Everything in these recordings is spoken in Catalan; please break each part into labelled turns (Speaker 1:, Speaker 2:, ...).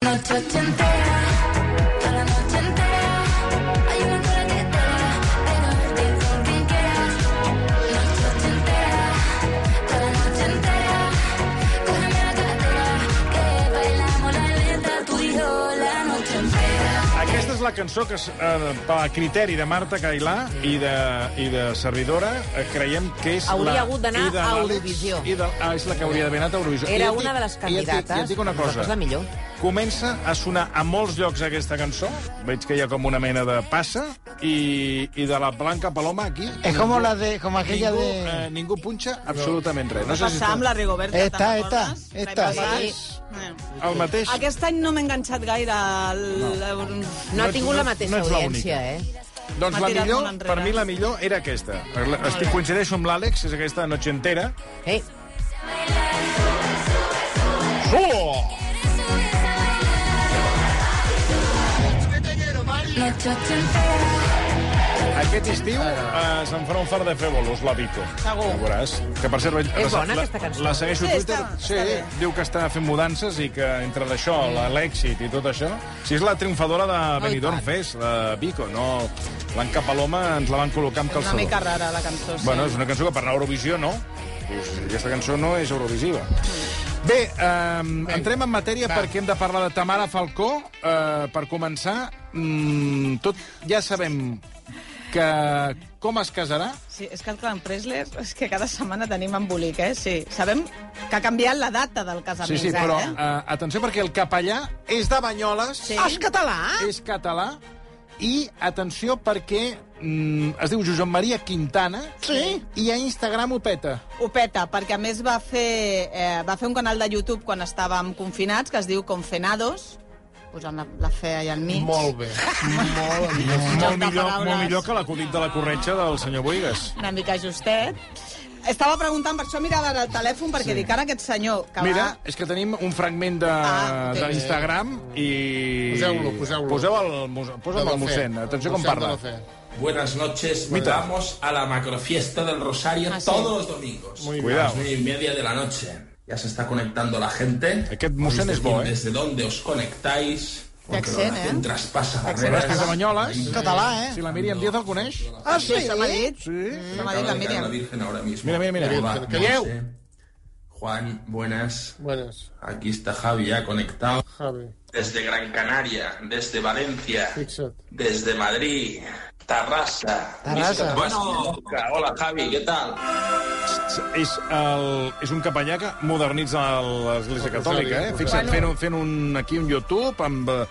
Speaker 1: noche entera, toda la noche entera. Hay un montón de tela, pegarte con quien quieras. Noche entera, toda la noche entera. Cógeme la cartera, que bailamos la letra tú y yo la noche entera.
Speaker 2: Aquesta és la cançó que, eh, a criteri de Marta Cailà i de, i de servidora, eh, creiem que és
Speaker 3: Hauria
Speaker 2: la...
Speaker 3: hagut d'anar
Speaker 2: i de
Speaker 3: a
Speaker 2: l'Àlex
Speaker 3: Eurovisió.
Speaker 2: I de, ah, és la que hauria d'haver anat a Eurovisió. I
Speaker 3: Era
Speaker 2: et dic-
Speaker 3: una de les
Speaker 2: i et dic-
Speaker 3: candidates.
Speaker 2: I et dic una
Speaker 3: Nosaltres
Speaker 2: cosa.
Speaker 3: La millor.
Speaker 2: Comença a sonar a molts llocs aquesta cançó. Veig que hi ha com una mena de passa. I, i de la Blanca Paloma, aquí...
Speaker 4: Es como la de, como aquella
Speaker 2: ningú,
Speaker 4: de...
Speaker 2: eh, ningú punxa absolutament res. No sé si
Speaker 5: Passar amb la Rigoberta,
Speaker 4: Esta,
Speaker 5: te'n
Speaker 4: esta,
Speaker 5: recordes? L'any
Speaker 4: esta.
Speaker 5: passat.
Speaker 3: Sí.
Speaker 5: Eh.
Speaker 2: el mateix...
Speaker 5: Aquest any no m'he enganxat gaire al... No.
Speaker 3: No
Speaker 2: No
Speaker 3: ha
Speaker 2: ets-
Speaker 3: tingut la
Speaker 2: no-
Speaker 3: mateixa
Speaker 2: no ets l'única.
Speaker 3: audiència, eh?
Speaker 2: Doncs
Speaker 5: M'ha
Speaker 2: la
Speaker 5: tirat
Speaker 2: millor,
Speaker 5: molt enrere.
Speaker 2: per mi la millor era aquesta. Estic, coincideixo amb l'Àlex, és aquesta noche entera.
Speaker 3: Ei,
Speaker 2: Solo!
Speaker 1: Noche entera,
Speaker 2: Aquest estiu eh, se'n farà un fart de fer bolos, la Vico.
Speaker 5: Segur.
Speaker 2: Ja veuràs. Que, per cert,
Speaker 3: És
Speaker 2: la,
Speaker 3: bona, aquesta cançó.
Speaker 2: La, la segueixo a
Speaker 5: Sí,
Speaker 2: Twitter.
Speaker 5: està-
Speaker 2: sí,
Speaker 5: està bé.
Speaker 2: diu que està fent mudances i que entre d'això, la- l'èxit i tot això... Si és la triomfadora
Speaker 3: Oh,
Speaker 2: de Benidorm Fest, la Vico, no... Blanca Paloma ens la van col·locar amb
Speaker 5: Una
Speaker 2: calçador.
Speaker 5: mica rara, la cançó. Sí.
Speaker 2: Bueno, és una cançó que per anar a Eurovisió no. Dius, Aquesta cançó no és Eurovisiva. Bé, um, entrem en matèria perquè hem de parlar de Tamara Falcó. Uh, per començar, mm, tot ja sabem que com es casarà.
Speaker 5: Sí, és que el Clan Presler, és que cada setmana tenim embolic, eh? Sí, sabem que ha canviat la data del
Speaker 2: Sí,
Speaker 5: casament.
Speaker 2: sí, però
Speaker 5: Eh?
Speaker 2: uh, atenció perquè el capellà és de Banyoles,
Speaker 5: Sí.
Speaker 3: Ah, és català?
Speaker 2: és català, i atenció perquè mm, es diu Josep Maria Quintana sí. i a Instagram ho peta.
Speaker 5: Ho peta, perquè a més va fer, eh, va fer un canal de YouTube quan estàvem confinats, que es diu Confenados, posant la, la fe allà al mig.
Speaker 6: Molt bé. Molt bé.
Speaker 2: Molt
Speaker 5: de
Speaker 2: millor,
Speaker 5: paraules.
Speaker 2: molt millor que l'acudit de la corretxa del senyor Boigas.
Speaker 5: Una mica justet. Estava preguntant, per això mirava el telèfon, perquè sí. dic, ara aquest senyor que
Speaker 2: Mira,
Speaker 5: va...
Speaker 2: és que tenim un fragment de, ah,
Speaker 5: Ah, ok.
Speaker 2: d'Instagram i...
Speaker 6: Poseu-lo, poseu-lo.
Speaker 2: Poseu el, muse- posa'm el mossèn, atenció com parla.
Speaker 7: Buenas noches,
Speaker 2: Mita.
Speaker 7: vamos a la macrofiesta del Rosario
Speaker 5: Ah, sí.
Speaker 7: todos los domingos.
Speaker 6: Muy
Speaker 2: bien.
Speaker 7: A las nueve y media de la noche. Ya se está conectando la gente.
Speaker 2: Aquest mossèn
Speaker 7: Podéis
Speaker 2: és bo,
Speaker 7: decir
Speaker 2: eh?
Speaker 7: Desde dónde os conectáis.
Speaker 5: Té accent, eh?
Speaker 7: Quien traspasa
Speaker 2: Sabràs que és de
Speaker 7: barreras.
Speaker 2: Banyoles?
Speaker 4: Català, eh?
Speaker 2: Si la Míriam Díaz el coneix?
Speaker 4: Ah, sí?
Speaker 5: Això m'ha dit?
Speaker 2: Sí.
Speaker 5: Això m'ha dit la
Speaker 7: Acaba de caer la
Speaker 5: Míriam.
Speaker 7: Virgen ahora mismo.
Speaker 2: Mira, mira, mira.
Speaker 7: Hola,
Speaker 6: Virgen, que
Speaker 7: Monse. Juan, buenas.
Speaker 6: Buenas,
Speaker 7: Aquí está Javi ya conectado.
Speaker 6: Javi.
Speaker 7: Desde Gran Canaria, desde Valencia,
Speaker 6: Fixa't.
Speaker 7: desde Madrid, Tarrasa.
Speaker 4: Tarrasa.
Speaker 7: Bueno, hola Javi, ¿qué tal?
Speaker 2: És, el, és un capellà que modernitza l'Església Catòlica, eh? Fixa't, fent, un- fent un, aquí un YouTube amb eh,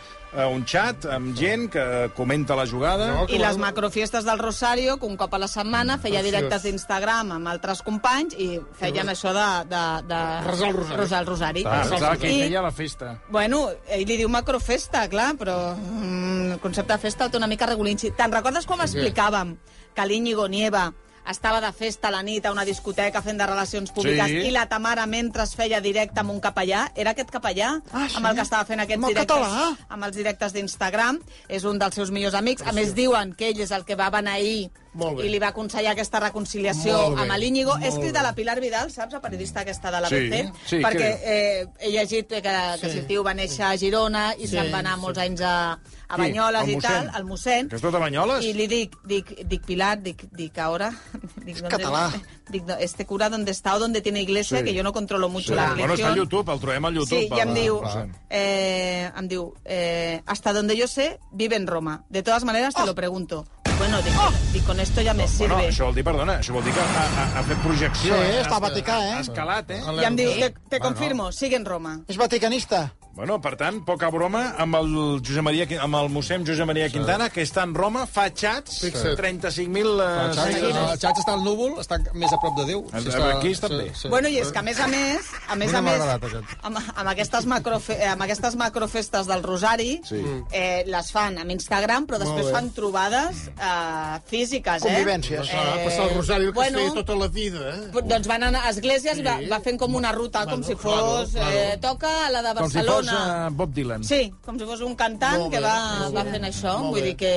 Speaker 2: un xat amb gent que comenta la jugada.
Speaker 6: No,
Speaker 5: I les macrofiestes del Rosario, que un cop a la setmana feia
Speaker 6: Preciós.
Speaker 5: directes d'Instagram amb altres companys i feien això de... de, de...
Speaker 6: Resar el rosari.
Speaker 5: Resar el rosari.
Speaker 2: Ah, pensava que hi
Speaker 5: I,
Speaker 2: feia la festa.
Speaker 5: bueno, ell li diu macrofesta, clar, però mm, el concepte de festa el té una mica regulinxi. Te'n recordes com explicàvem que l'Iñigo Nieva estava de festa a la nit a una discoteca fent de relacions públiques
Speaker 2: Sí.
Speaker 5: i la Tamara mentre es feia directe amb un capellà, era aquest capellà
Speaker 4: Ah, sí?
Speaker 5: amb el que estava fent aquests
Speaker 4: Amb el
Speaker 5: directes
Speaker 4: català?
Speaker 5: amb els directes d'Instagram, és un dels seus millors amics. A més, diuen que ell és el que va beneir
Speaker 6: Molt bé.
Speaker 5: i li va aconsellar aquesta reconciliació
Speaker 6: Molt bé,
Speaker 5: amb l'Iñigo.
Speaker 6: molt
Speaker 5: He escrit a la Pilar Vidal, saps, la periodista aquesta de la
Speaker 2: Sí,
Speaker 5: BC,
Speaker 2: sí,
Speaker 5: perquè eh, he llegit que, que
Speaker 6: Sí.
Speaker 5: sí. Citiu va néixer a Girona i se'n va anar molts anys a, a
Speaker 2: Qui?
Speaker 5: Banyoles
Speaker 2: El
Speaker 5: i tal,
Speaker 2: mossèn?
Speaker 5: al mossèn.
Speaker 2: Que és tot a Banyoles?
Speaker 5: I li dic, dic, dic Pilar, dic, dic ahora... Dic, ¿dónde-
Speaker 4: català.
Speaker 5: Dic, no, este cura donde está o donde tiene iglesia,
Speaker 2: Sí.
Speaker 5: que yo no controlo mucho
Speaker 2: Sí.
Speaker 5: la
Speaker 2: Bueno,
Speaker 5: religión.
Speaker 2: està al YouTube, el trobem al YouTube.
Speaker 5: Sí, i em
Speaker 2: el-
Speaker 5: diu,
Speaker 2: el mossèn.
Speaker 5: eh, em diu eh, hasta donde yo sé, vive en Roma. De todas maneras, te lo pregunto. Bueno, dic, dic, con esto ya me
Speaker 2: Ah. Bueno,
Speaker 5: sirve.
Speaker 2: això vol dir, perdona, això vol dir que ha, ha, ha fet projecció.
Speaker 4: Sí,
Speaker 2: eh?
Speaker 4: és la Vaticà, eh?
Speaker 2: Ha escalat, eh?
Speaker 5: I em diu, te, te
Speaker 2: Bueno.
Speaker 5: confirmo, sigue en Roma.
Speaker 4: És vaticanista.
Speaker 2: Bueno, per tant, poca broma amb el, Josep Maria, Qui- amb el mossèn Josep Maria Quintana, que està en Roma, fa xats,
Speaker 6: Fixa't.
Speaker 2: 35.000... eh,
Speaker 6: El xatx,
Speaker 2: seguidors.
Speaker 6: el xatx està al núvol, està més a prop de Déu.
Speaker 2: El-
Speaker 6: està,
Speaker 2: aquí està bé.
Speaker 5: Bueno, i és que a més a més, a més
Speaker 6: No
Speaker 5: a
Speaker 6: m'ha
Speaker 5: més,
Speaker 6: agradat, aquest.
Speaker 5: amb, amb, aquestes macrofe, eh, amb aquestes macrofestes del Rosari,
Speaker 2: Sí.
Speaker 5: eh, les fan amb Instagram, però després
Speaker 6: bé.
Speaker 5: fan trobades eh, físiques, eh?
Speaker 4: Convivències.
Speaker 6: Ah, passar el rosari que bueno,
Speaker 5: bueno,
Speaker 6: es feia tota la vida, eh?
Speaker 5: Doncs van anar a esglésies i va, va fent com una ruta, com
Speaker 6: Bueno,
Speaker 5: si
Speaker 6: claro,
Speaker 5: fos...
Speaker 6: claro.
Speaker 5: Eh, toca a la de
Speaker 2: Com si
Speaker 5: Barcelona,
Speaker 2: fos
Speaker 5: una-
Speaker 2: eh, Bob Dylan.
Speaker 5: Sí, com si fos un cantant
Speaker 6: Molt
Speaker 5: que
Speaker 6: bé,
Speaker 5: va,
Speaker 6: molt
Speaker 5: va
Speaker 6: bé.
Speaker 5: fent això.
Speaker 6: Molt
Speaker 5: Vull
Speaker 6: bé.
Speaker 5: dir que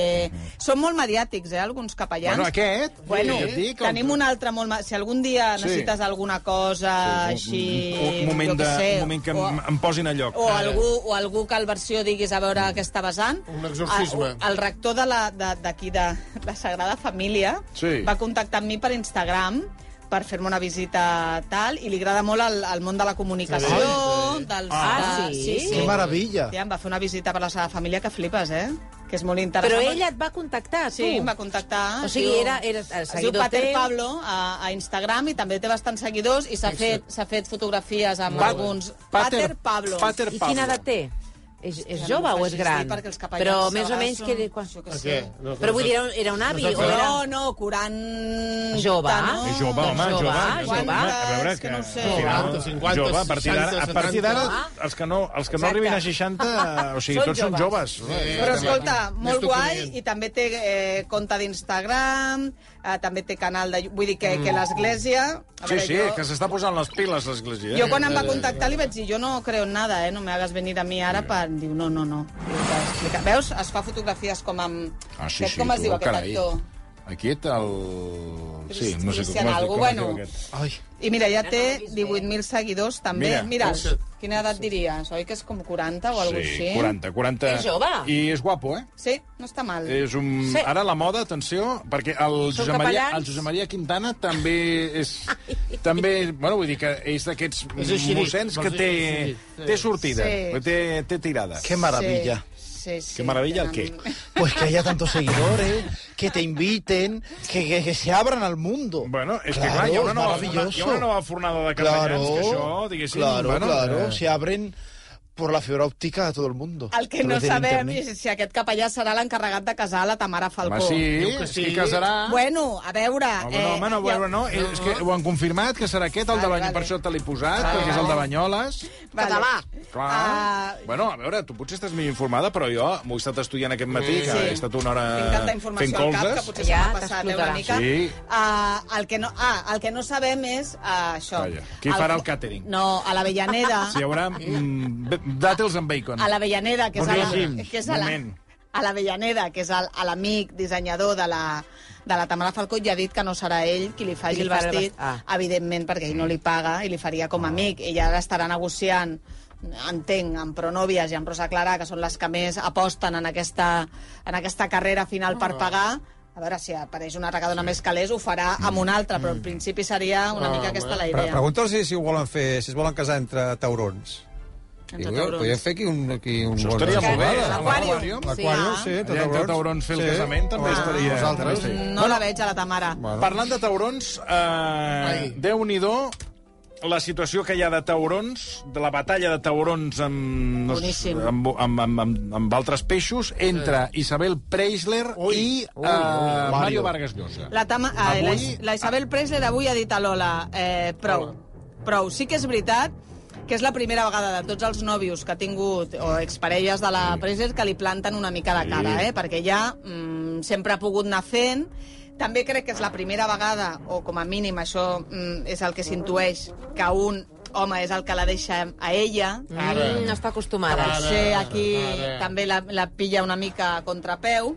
Speaker 5: són molt mediàtics, eh, alguns capellans.
Speaker 2: Bueno, aquest...
Speaker 5: Bueno,
Speaker 2: ja et dic, el-
Speaker 5: tenim un altre molt... ma- Si algun dia
Speaker 2: Sí.
Speaker 5: necessites alguna cosa així...
Speaker 2: un moment,
Speaker 5: jo què
Speaker 2: de,
Speaker 5: sé,
Speaker 2: un moment que
Speaker 5: o-
Speaker 2: em, em posin a lloc.
Speaker 5: o algú, o algú que al versió diguis a veure què està basant.
Speaker 6: Un exorcisme.
Speaker 5: El, el rector de la- de- d'aquí, de, de, la Sagrada Família,
Speaker 2: Sí.
Speaker 5: va contactar amb mi per Instagram per fer-me una visita tal, i li agrada molt el, el món de la comunicació,
Speaker 6: Sí.
Speaker 5: dels...
Speaker 3: Ah,
Speaker 5: de-
Speaker 3: sí?
Speaker 4: Que maravilla.
Speaker 5: Tia, em va fer una visita per la Sagrada Família que flipes, eh? Que és molt
Speaker 3: Però
Speaker 5: interessant.
Speaker 3: ella et va contactar, tu?
Speaker 5: Sí, em va contactar.
Speaker 3: O sigui,
Speaker 5: diu-
Speaker 3: era- era el
Speaker 5: es diu
Speaker 3: seguidor
Speaker 5: Pater
Speaker 3: teu.
Speaker 5: Pablo a, a Instagram i també té bastants seguidors i s'ha fet, s'ha fet fotografies amb
Speaker 2: Pat-
Speaker 5: alguns...
Speaker 2: Pater-
Speaker 5: Pater Pablo.
Speaker 2: Pater
Speaker 3: I
Speaker 2: Pablo.
Speaker 3: quina edat té? És, és
Speaker 5: Ja no
Speaker 3: jove
Speaker 5: m'ho
Speaker 3: o és
Speaker 5: facis dir,
Speaker 3: gran?
Speaker 5: perquè els capellans
Speaker 3: Però
Speaker 5: a
Speaker 3: més o
Speaker 5: vegades
Speaker 3: menys...
Speaker 5: són-
Speaker 3: Que...
Speaker 5: jo
Speaker 3: quan-
Speaker 5: què
Speaker 6: Per
Speaker 5: sé.
Speaker 6: què? No,
Speaker 3: Però vull dir, era un, era un avi o era...
Speaker 5: No, no, curant...
Speaker 3: Jove.
Speaker 5: no?
Speaker 2: És jove, home,
Speaker 3: Doncs
Speaker 2: jove.
Speaker 3: jove,
Speaker 2: és jove.
Speaker 3: jove.
Speaker 2: A veure,
Speaker 5: Oh, És que no ho sé.
Speaker 2: al final,
Speaker 6: 40, 50,
Speaker 2: jove, a partir d'ara, a partir d'ara
Speaker 3: 60.
Speaker 2: els que no, els que no
Speaker 3: Exacte.
Speaker 2: arribin a 60, o sigui,
Speaker 3: Són
Speaker 2: tots són joves.
Speaker 6: Eh,
Speaker 5: Però escolta,
Speaker 6: Més
Speaker 5: molt
Speaker 6: tu
Speaker 5: guai,
Speaker 6: client.
Speaker 5: i també té eh, compte d'Instagram, eh, també té canal de... Vull dir que, que l'Església... a
Speaker 2: Mm. Sí,
Speaker 5: veure,
Speaker 2: sí,
Speaker 5: jo-
Speaker 2: que s'està posant les piles l'església. eh?
Speaker 5: Jo quan em va contactar li vaig dir, jo no creo en nada, eh? no me hagas venir a mi ara per... Diu, no, no, no. Diu, "T'ha d'explicar". Veus? Es fa fotografies com amb...
Speaker 2: Ah, sí,
Speaker 5: Aquest
Speaker 2: sí,
Speaker 5: com es
Speaker 2: tu,
Speaker 5: diu aquest
Speaker 2: carai.
Speaker 5: actor?
Speaker 2: Aquest, el... Sí, no sé
Speaker 5: Cristian
Speaker 2: com es diu,
Speaker 5: algo,
Speaker 2: com es diu
Speaker 5: bueno.
Speaker 2: aquest.
Speaker 6: Ai,
Speaker 5: I mira, ja té 18.000 seguidors també.
Speaker 2: Mira,
Speaker 5: Mira,
Speaker 6: fixa't.
Speaker 5: quina edat diries? Oi que és com 40 o alguna
Speaker 2: Sí,
Speaker 5: cosa així?
Speaker 2: 40, 40.
Speaker 3: És jove.
Speaker 2: I és guapo, eh?
Speaker 5: Sí, no està mal.
Speaker 2: És un...
Speaker 3: Sí.
Speaker 2: Ara la moda, atenció, perquè el
Speaker 3: Són
Speaker 2: Josep, Maria,
Speaker 3: capellans.
Speaker 2: el Josep Maria Quintana també és... també, bueno, vull dir que és d'aquests
Speaker 6: És així,
Speaker 2: mossens que
Speaker 6: doncs,
Speaker 2: té,
Speaker 6: és així, sí.
Speaker 2: té sortida,
Speaker 5: Sí.
Speaker 2: que té, té tirada.
Speaker 4: Qué maravilla.
Speaker 5: Sí, sí, sí.
Speaker 2: Qué maravilla el
Speaker 5: Tenen-
Speaker 2: qué.
Speaker 4: Pues que haya tantos seguidores, que te inviten, que, que, que se abran al mundo.
Speaker 2: Bueno, és que
Speaker 4: Claro,
Speaker 2: clar, hi ha una nova, hi ha
Speaker 4: maravilloso.
Speaker 2: una nova fornada de capellans,
Speaker 4: Claro,
Speaker 2: que això, diguéssim...
Speaker 4: claro,
Speaker 2: bueno,
Speaker 4: claro.
Speaker 2: eh,
Speaker 4: Se abren por la fibra óptica a todo el mundo.
Speaker 5: El que
Speaker 4: A
Speaker 5: no
Speaker 4: través del
Speaker 5: sabem
Speaker 4: internet.
Speaker 5: és si aquest capellà serà l'encarregat de casar la Tamara
Speaker 2: Home,
Speaker 5: Falcó.
Speaker 2: sí,
Speaker 6: Diu que
Speaker 2: és que
Speaker 6: sí.
Speaker 2: casarà...
Speaker 5: Bueno, a veure... eh,
Speaker 2: Home, no, home, no,
Speaker 5: ja-
Speaker 2: bueno, no, és que ho han confirmat, que serà aquest, el de
Speaker 5: Vale,
Speaker 2: Banyoles,
Speaker 5: vale.
Speaker 2: per això te l'he posat,
Speaker 5: Vale,
Speaker 2: perquè és el
Speaker 5: vale.
Speaker 2: de Banyoles.
Speaker 3: Català.
Speaker 2: Clar.
Speaker 5: Ah.
Speaker 2: Bueno, a veure, tu potser estàs millor informada, però jo m'ho he estat estudiant aquest matí, que
Speaker 5: Sí.
Speaker 2: he estat una
Speaker 5: Tinc tanta
Speaker 2: hora fent
Speaker 5: informació al cap que
Speaker 2: colzes.
Speaker 5: potser ja
Speaker 3: Ja
Speaker 5: s'ha passat eh, una
Speaker 3: t'explotarà.
Speaker 5: mica.
Speaker 2: Sí.
Speaker 5: Ah, el que no, ah, el que no sabem és ah, això.
Speaker 2: Calla. Qui farà el càtering?
Speaker 5: No, a l'Avellaneda,
Speaker 2: Si hi haurà mm, b- dàtils amb bacon.
Speaker 5: a l'Avellaneda, que és a la,
Speaker 2: Boníssim.
Speaker 5: que és a la,
Speaker 2: Moment.
Speaker 5: a l'Avellaneda, que és el- a l'amic dissenyador de la, de la Tamara Falcó, ja ha dit que no serà ell qui li faci
Speaker 3: Qui
Speaker 5: el
Speaker 3: li farà el
Speaker 5: vestit,
Speaker 3: vestit. Ah.
Speaker 5: evidentment, perquè ell no li paga i li faria com a amic. Ella ara estarà negociant entenc, amb Pronòvies i amb Rosa Clara, que són les que més aposten en aquesta, en aquesta carrera final per pagar, a veure si apareix una regadona més calés, ho farà amb una altra, però en principi seria una mica aquesta la
Speaker 8: Pre
Speaker 5: idea.
Speaker 8: Pregunta'ls si, si ho volen fer, si es volen casar entre taurons.
Speaker 5: Entre
Speaker 8: Diu,
Speaker 5: taurons.
Speaker 8: Podríem fer aquí un... Aquí un
Speaker 2: Això estaria molt bé.
Speaker 8: casada.
Speaker 2: a
Speaker 5: L'aquàrium.
Speaker 8: L'aquàrium, sí, entre
Speaker 2: Allà entre
Speaker 8: taurons. Ah.
Speaker 2: taurons fer el casament també estaria- també
Speaker 8: Nosaltres.
Speaker 2: estaria.
Speaker 5: No la veig a la Tamara.
Speaker 2: Parlant de taurons, eh, Déu-n'hi-do la situació que hi ha de taurons, de la batalla de taurons amb, no sé,
Speaker 5: Boníssim.
Speaker 2: amb, amb, amb, amb, amb altres peixos entre Isabel Preisler i eh, Mario Vargas Llosa.
Speaker 5: La, Tama, eh, la, Is- la Isabel Presley d'avui ha dit a Lola, eh, prou, prou. Sí que és veritat que és la primera vegada de tots els nòvios que ha tingut o exparelles de la Presley que li planten una mica de cara, eh? perquè ja mm, sempre ha pogut anar fent. També crec que és la primera vegada, o com a mínim això mm, és el que s'intueix, que un home és el que la deixa a ella,
Speaker 3: Mm, està acostumada.
Speaker 5: que potser aquí
Speaker 6: ara.
Speaker 5: també la, la pilla una mica a contrapeu.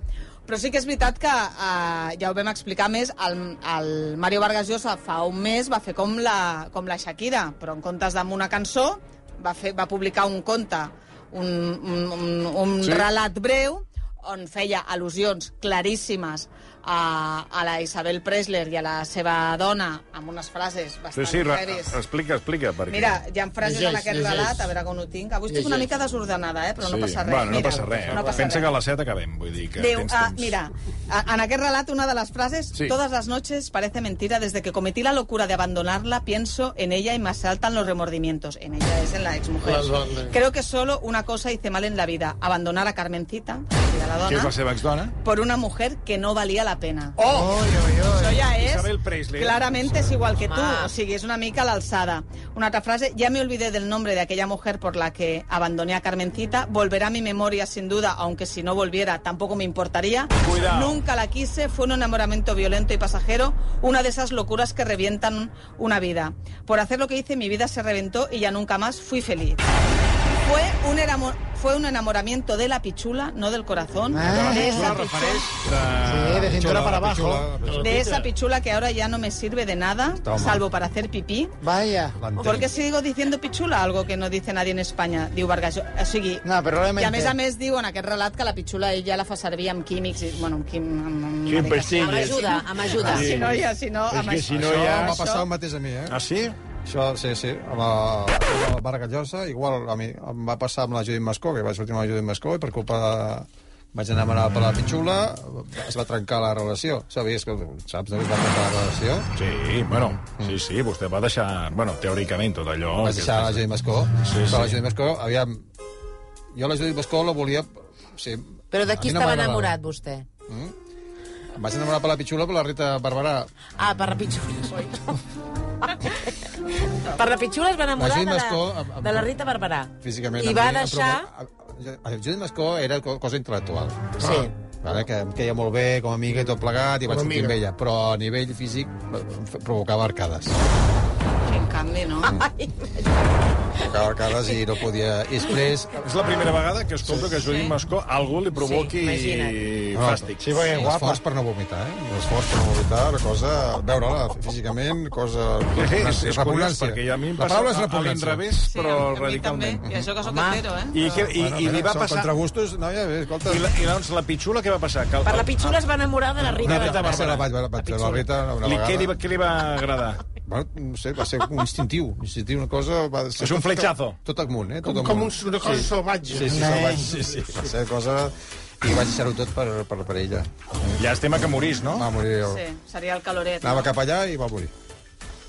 Speaker 5: Però sí que és veritat que, eh, ja ho vam explicar més, el, el Mario Vargas Llosa fa un mes va fer com la, com la Shakira, però en comptes d'amb una cançó va, fer, va publicar un conte, un, un, un, un
Speaker 2: Sí.
Speaker 5: sí. relat breu, on feia al·lusions claríssimes a, a la Isabel Presler i a la seva dona, amb unes frases
Speaker 2: Sí,
Speaker 5: bastant
Speaker 2: sí, re,
Speaker 5: heavies.
Speaker 2: explica, explica. Perquè...
Speaker 5: Mira, hi ha frases
Speaker 6: Llegeix,
Speaker 5: en aquest
Speaker 6: llegeix.
Speaker 5: relat, a veure com ho tinc. Avui estic
Speaker 6: Llegeix.
Speaker 5: una mica desordenada, eh? però no passa res.
Speaker 2: Bueno, no
Speaker 5: Mira,
Speaker 2: passa res. eh?
Speaker 5: No passa
Speaker 2: Pensa
Speaker 5: res.
Speaker 2: que a les 7 acabem, vull dir que
Speaker 5: Déu,
Speaker 2: tens
Speaker 5: ah,
Speaker 2: temps.
Speaker 5: mira, a- en aquest relat una de las frases,
Speaker 2: Sí.
Speaker 5: todas las noches parece mentira, desde que cometí la locura de abandonarla, pienso en ella y me asaltan los remordimientos. En ella es en la exmujer.
Speaker 6: La dona.
Speaker 5: Creo que solo una cosa hice mal en la vida, abandonar a Carmencita, a la
Speaker 2: Que és la
Speaker 5: dona,
Speaker 2: seva exdona.
Speaker 5: por una mujer que no valía la pena.
Speaker 2: Oh!
Speaker 5: Això ja és...
Speaker 2: Isabel Presley. ¿eh?
Speaker 5: Claramente es igual que tú,
Speaker 3: Home.
Speaker 5: o sigui, és una mica a l'alçada. Una altra frase, ya me olvidé del nombre de aquella mujer por la que abandoné a Carmencita, volverá a mi memoria sin duda, aunque si no volviera tampoco me importaría.
Speaker 2: Cuidao.
Speaker 5: Nunca la quise, fue un enamoramiento violento y pasajero, una de esas locuras que revientan una vida. Por hacer lo que hice, mi vida se reventó y ya nunca más fui feliz. Fue un, enamo- fue un enamoramiento de la pichula, no del corazón.
Speaker 4: Ah,
Speaker 5: de,
Speaker 2: Pichula
Speaker 5: esa
Speaker 2: refereix
Speaker 5: pichula,
Speaker 2: de...
Speaker 4: Sí, de cintura para abajo.
Speaker 5: de esa pichula que ahora ya no me sirve de nada,
Speaker 8: Toma.
Speaker 5: salvo para hacer pipí.
Speaker 4: Vaya.
Speaker 5: ¿Por qué sigo diciendo pichula? Algo que no dice nadie en Espanya, diu Vargas. Llosa. O sigui,
Speaker 4: No, però realment...
Speaker 5: I a més a més diu en aquest relat que la pitxula ell ja la fa servir amb químics, i, bueno, amb, quim, amb, amb
Speaker 9: Sí,
Speaker 5: medicació.
Speaker 9: sí.
Speaker 3: Amb ajuda, amb ajuda.
Speaker 5: Si no, ja, si no...
Speaker 9: És
Speaker 5: amb
Speaker 9: que
Speaker 5: això.
Speaker 9: si no
Speaker 8: Això
Speaker 9: hi ha...
Speaker 8: em va passar el mateix a mi, eh?
Speaker 2: Ah, sí?
Speaker 8: Això, sí, sí, a la, a la Bargallosa, igual a mi em va passar amb la Judit Mascó, que vaig sortir amb la Judit Mascó i per culpa de... vaig anar a manar per la pitxula, es va trencar la relació. Sabies que, saps, no? que es va trencar la relació?
Speaker 2: Sí, bueno, sí, sí, vostè va deixar... Bueno, teòricament, tot allò...
Speaker 8: Vaig deixar la Judit Mascó,
Speaker 2: Oh, Sí,
Speaker 8: però la
Speaker 2: sí.
Speaker 8: Judit Mascó, aviam, jo la Judit Mascó la volia... Sí,
Speaker 3: Però de
Speaker 8: a
Speaker 3: qui
Speaker 8: mi no
Speaker 3: estava
Speaker 8: m'agradava.
Speaker 3: enamorat, vostè?
Speaker 8: Em vaig enamorar per la pitxula, per la Rita Barberà.
Speaker 3: Ah, per la pitxula. per la pitxula es va enamorar
Speaker 8: Magí
Speaker 3: de
Speaker 8: Mascó,
Speaker 3: la,
Speaker 8: amb- amb-
Speaker 3: de la Rita Barberà.
Speaker 8: Físicament...
Speaker 3: I
Speaker 8: a
Speaker 3: va
Speaker 8: mi em
Speaker 3: deixar...
Speaker 8: provo- a- a- a- Judit Mascó era co- cosa intel·lectual.
Speaker 3: Sí.
Speaker 8: Vale, que em queia molt bé com a amiga i tot plegat, i vaig sortir amb ella, però a nivell físic eh, em fe- provocava arcades.
Speaker 5: En canvi, no?
Speaker 8: Provocava arcades i no podia... I després...
Speaker 2: És la primera vegada que escolto que Judit Mascó algú li provoqui
Speaker 3: Sí, imagina't.
Speaker 2: fàstic.
Speaker 9: Sí, perquè guapa.
Speaker 8: L'esforç per no vomitar, eh? L'esforç per no vomitar, la cosa... Veure-la físicament, cosa...
Speaker 2: És, és, és curiós,
Speaker 8: Repugnància.
Speaker 2: perquè a mi em
Speaker 8: La
Speaker 2: passa
Speaker 8: paraula és
Speaker 2: a, a
Speaker 8: repugnància.
Speaker 2: l'inrevés,
Speaker 5: Sí,
Speaker 2: però
Speaker 5: a mi
Speaker 2: radicalment.
Speaker 5: També. I això que sóc
Speaker 3: Home.
Speaker 5: hetero, eh?
Speaker 2: I, que, i,
Speaker 8: Bueno,
Speaker 2: i li
Speaker 8: mira,
Speaker 2: va
Speaker 8: són
Speaker 2: passar...
Speaker 8: Contra gustos, noia, bé, escolta...
Speaker 2: I la, i doncs la pitxula què va passar? Que el,
Speaker 3: Per la pitxula es va enamorar de la Rita
Speaker 8: Una Rita
Speaker 3: Barberà.
Speaker 8: Barberà, vaig, vaig, vaig, la Rita una
Speaker 2: li, què, li,
Speaker 8: vegada...
Speaker 2: va- què li va agradar?
Speaker 8: Bueno, no sé, va ser un instintiu, instintiu, una cosa... Va ser
Speaker 2: És un
Speaker 8: tot-
Speaker 2: fletxazo.
Speaker 8: Tot amunt, eh? Tot amunt.
Speaker 6: Com un, una cosa salvatge.
Speaker 8: Sí, sí, salvatge. Sí, sí. Va ser cosa... I vaig deixar-ho tot per, per, per ella.
Speaker 2: Llàstima que morís, no?
Speaker 8: Va morir...
Speaker 5: Sí,
Speaker 8: Sí.
Speaker 5: seria el caloret.
Speaker 8: Anava cap allà i va morir.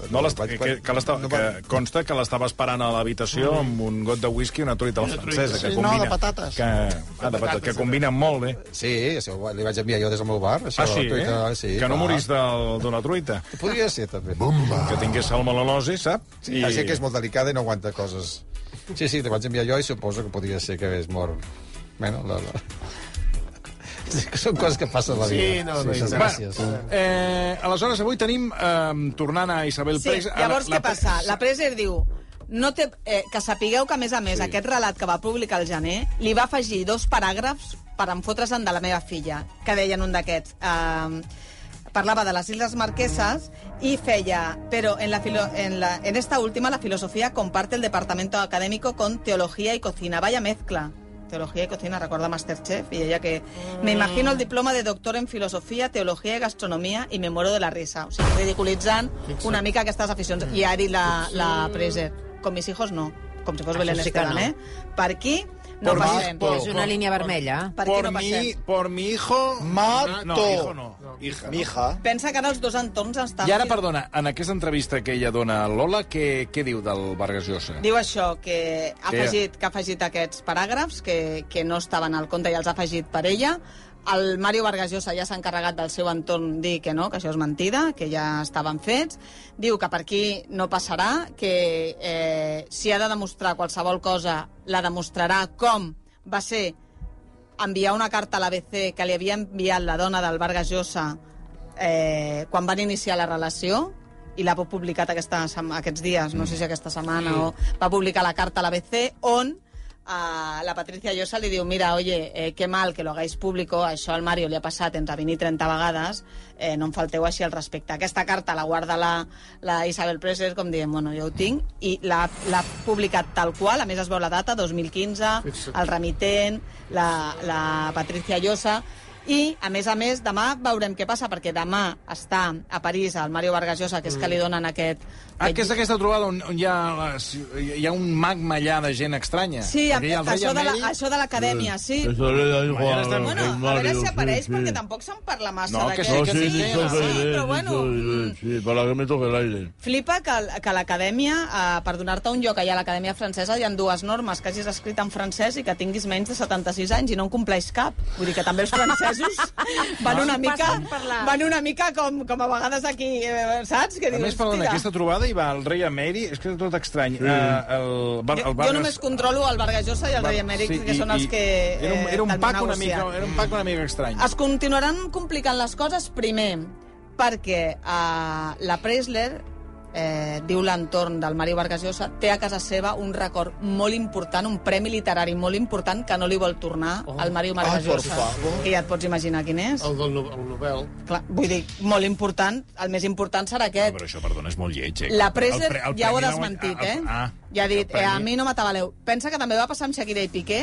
Speaker 2: No l'est-
Speaker 8: Vaig-
Speaker 2: que, que, l'estava-
Speaker 8: no
Speaker 2: que
Speaker 8: va-
Speaker 2: consta que l'estava esperant a l'habitació amb un got de whisky i una truita a la francesa, que
Speaker 6: Sí, no,
Speaker 2: combina...
Speaker 6: de patates.
Speaker 2: Que, ah, de patates, que combina molt bé.
Speaker 8: Sí, això, ho- li vaig enviar jo des del meu bar. Això,
Speaker 2: Ah, sí,
Speaker 8: a
Speaker 2: eh?
Speaker 8: Twitter, sí
Speaker 2: que no
Speaker 8: clar.
Speaker 2: morís del- d'una truita.
Speaker 8: Podria ser, també.
Speaker 2: Que tingués salmonel·losi, sap?
Speaker 8: Sí, I... que és molt delicada i no aguanta coses. Sí, sí, li vaig enviar jo i suposo que podria ser que hagués mort. Bueno, la, la... Sí, que Són coses que passen a la
Speaker 6: Sí,
Speaker 8: vida.
Speaker 6: no, no,
Speaker 8: sí,
Speaker 6: i tant.
Speaker 8: gràcies.
Speaker 2: Eh, aleshores, avui tenim, eh, tornant a Isabel
Speaker 5: Sí,
Speaker 2: Prex... a
Speaker 5: llavors
Speaker 2: la-
Speaker 5: què passa? La Preser diu... No té, eh, que sapigueu que, a més a més, sí. aquest relat que va publicar el gener li va afegir dos paràgrafs per enfotre's-en de la meva filla, que deien un d'aquests. Eh, parlava de les Islas Marquesas i feia... Però en, la filo, en, la, en esta última la filosofía comparte el departamento académico con teología y cocina. Vaya mezcla. Teología y cocina, recuerda Masterchef. Y ella que...
Speaker 2: Mm.
Speaker 5: Me imagino el diploma de doctor en filosofía, teología y gastronomía y me muero de la risa. O sigui, ridiculitzant una mica aquestes aficions. I Ari la, la Preser. Con mis hijos no. Com si fos
Speaker 3: Això
Speaker 5: Belén
Speaker 3: sí que
Speaker 5: Esteban,
Speaker 3: no.
Speaker 5: eh? Per aquí no
Speaker 2: Por mi-
Speaker 5: passem.
Speaker 2: por-
Speaker 3: És una línia vermella.
Speaker 5: Per aquí
Speaker 2: Por
Speaker 5: no
Speaker 2: mi,
Speaker 5: passem.
Speaker 2: por mi hijo...
Speaker 4: Mato.
Speaker 2: No, hijo no. Hija. no.
Speaker 4: Mija.
Speaker 5: Pensa que ara els dos entorns estan...
Speaker 2: I ara, perdona, en aquesta entrevista que ella dona a Lola, què, què diu del Vargas Llosa?
Speaker 5: Diu això, que
Speaker 2: Sí.
Speaker 5: ha afegit, que ha afegit aquests paràgrafs que, que no estaven al compte i els ha afegit per ella. El Mario Vargas Llosa ja s'ha encarregat del seu entorn dir que no, que això és mentida, que ja estaven fets. Diu que per aquí no passarà, que eh, si ha de demostrar qualsevol cosa, la demostrarà com va ser enviar una carta a l'ABC que li havia enviat la dona del Vargas Llosa eh, quan van iniciar la relació i l'ha publicat aquesta, sem- aquests dies, no sé si aquesta setmana, o va publicar la carta a l'ABC on a la Patricia Llosa li diu mira, oye, eh, que mal que lo hagáis público això al Mario li ha passat entre 20 i 30 vegades eh, no em falteu així al respecte aquesta carta la guarda la, la Isabel Presley com diem, bueno, jo ho tinc i l'ha l'ha publicat tal qual a més es veu la data, 2015 el remitent, la, la Patricia Llosa i, a més a més, demà veurem què passa, perquè demà està a París el Mario Vargas Llosa, que és que li donen aquest...
Speaker 2: Mm. Ah, que és aquesta trobada on, on hi, ha, les- hi ha un magma allà de gent estranya.
Speaker 5: Sí,
Speaker 2: Perquè hi ha el rei Mm.
Speaker 5: això de, la,
Speaker 2: Emèrit.
Speaker 5: això de l'acadèmia, sí.
Speaker 9: Eso le da igual
Speaker 2: Mañana estem-
Speaker 9: al
Speaker 5: Bueno, a veure
Speaker 9: Mario,
Speaker 5: si
Speaker 9: sí,
Speaker 5: apareix,
Speaker 9: sí.
Speaker 5: perquè tampoc se'n parla massa
Speaker 2: No, que
Speaker 5: d'aquest...
Speaker 2: sí,
Speaker 9: No,
Speaker 2: que
Speaker 9: sí,
Speaker 2: sí,
Speaker 9: sí,
Speaker 2: no,
Speaker 9: eso
Speaker 2: sí,
Speaker 9: es,
Speaker 5: eh? però
Speaker 9: eso
Speaker 5: bueno...
Speaker 9: es, sí, para que me toque el aire.
Speaker 5: Flipa que, que l'acadèmia, eh, per donar-te un lloc allà a l'acadèmia francesa, hi ha dues normes, que hagis escrit en francès i que tinguis menys de 76 anys i no en compleix cap. Vull dir que també els francesos
Speaker 2: Ah.
Speaker 5: van una mica,
Speaker 3: Passen per la-
Speaker 5: van una mica com, com a vegades aquí, eh, saps? Que
Speaker 2: A més,
Speaker 5: dius,
Speaker 2: perdona,
Speaker 5: "Hòstia".
Speaker 2: aquesta trobada hi va el rei Emeri, és que és tot estrany. Sí. Uh, el, Bar- el
Speaker 5: Jo, jo
Speaker 2: Vargas-
Speaker 5: només controlo el Vargas Llosa i el Rei Emèric, que
Speaker 2: i-
Speaker 5: són els
Speaker 2: i-
Speaker 5: que...
Speaker 2: Era un,
Speaker 5: eh,
Speaker 2: era un
Speaker 5: te'l van
Speaker 2: pac una mica,
Speaker 5: negociar.
Speaker 2: era un pac una mica estrany.
Speaker 5: Es continuaran complicant les coses primer perquè eh, la Presler eh, diu l'entorn del Mario Vargas Llosa, té a casa seva un record molt important, un premi literari molt important que no li vol tornar al Mario Vargas
Speaker 6: Ah, por
Speaker 5: Llosa.
Speaker 6: favor. Oh.
Speaker 5: que ja et pots imaginar quin és.
Speaker 6: El del no, el Nobel.
Speaker 5: Clar, vull dir, molt important, el més important serà aquest.
Speaker 2: Però això, perdona, és molt lleig, eh?
Speaker 5: La Preser
Speaker 2: El pre- el
Speaker 5: ja ho ha
Speaker 2: premi la guany-
Speaker 5: desmentit,
Speaker 2: ah,
Speaker 5: eh?
Speaker 2: el- Ah,
Speaker 5: ja ha
Speaker 2: el
Speaker 5: dit, eh, a
Speaker 2: premi-
Speaker 5: mi no m'atabaleu. Pensa que també va passar amb Shakira i Piqué,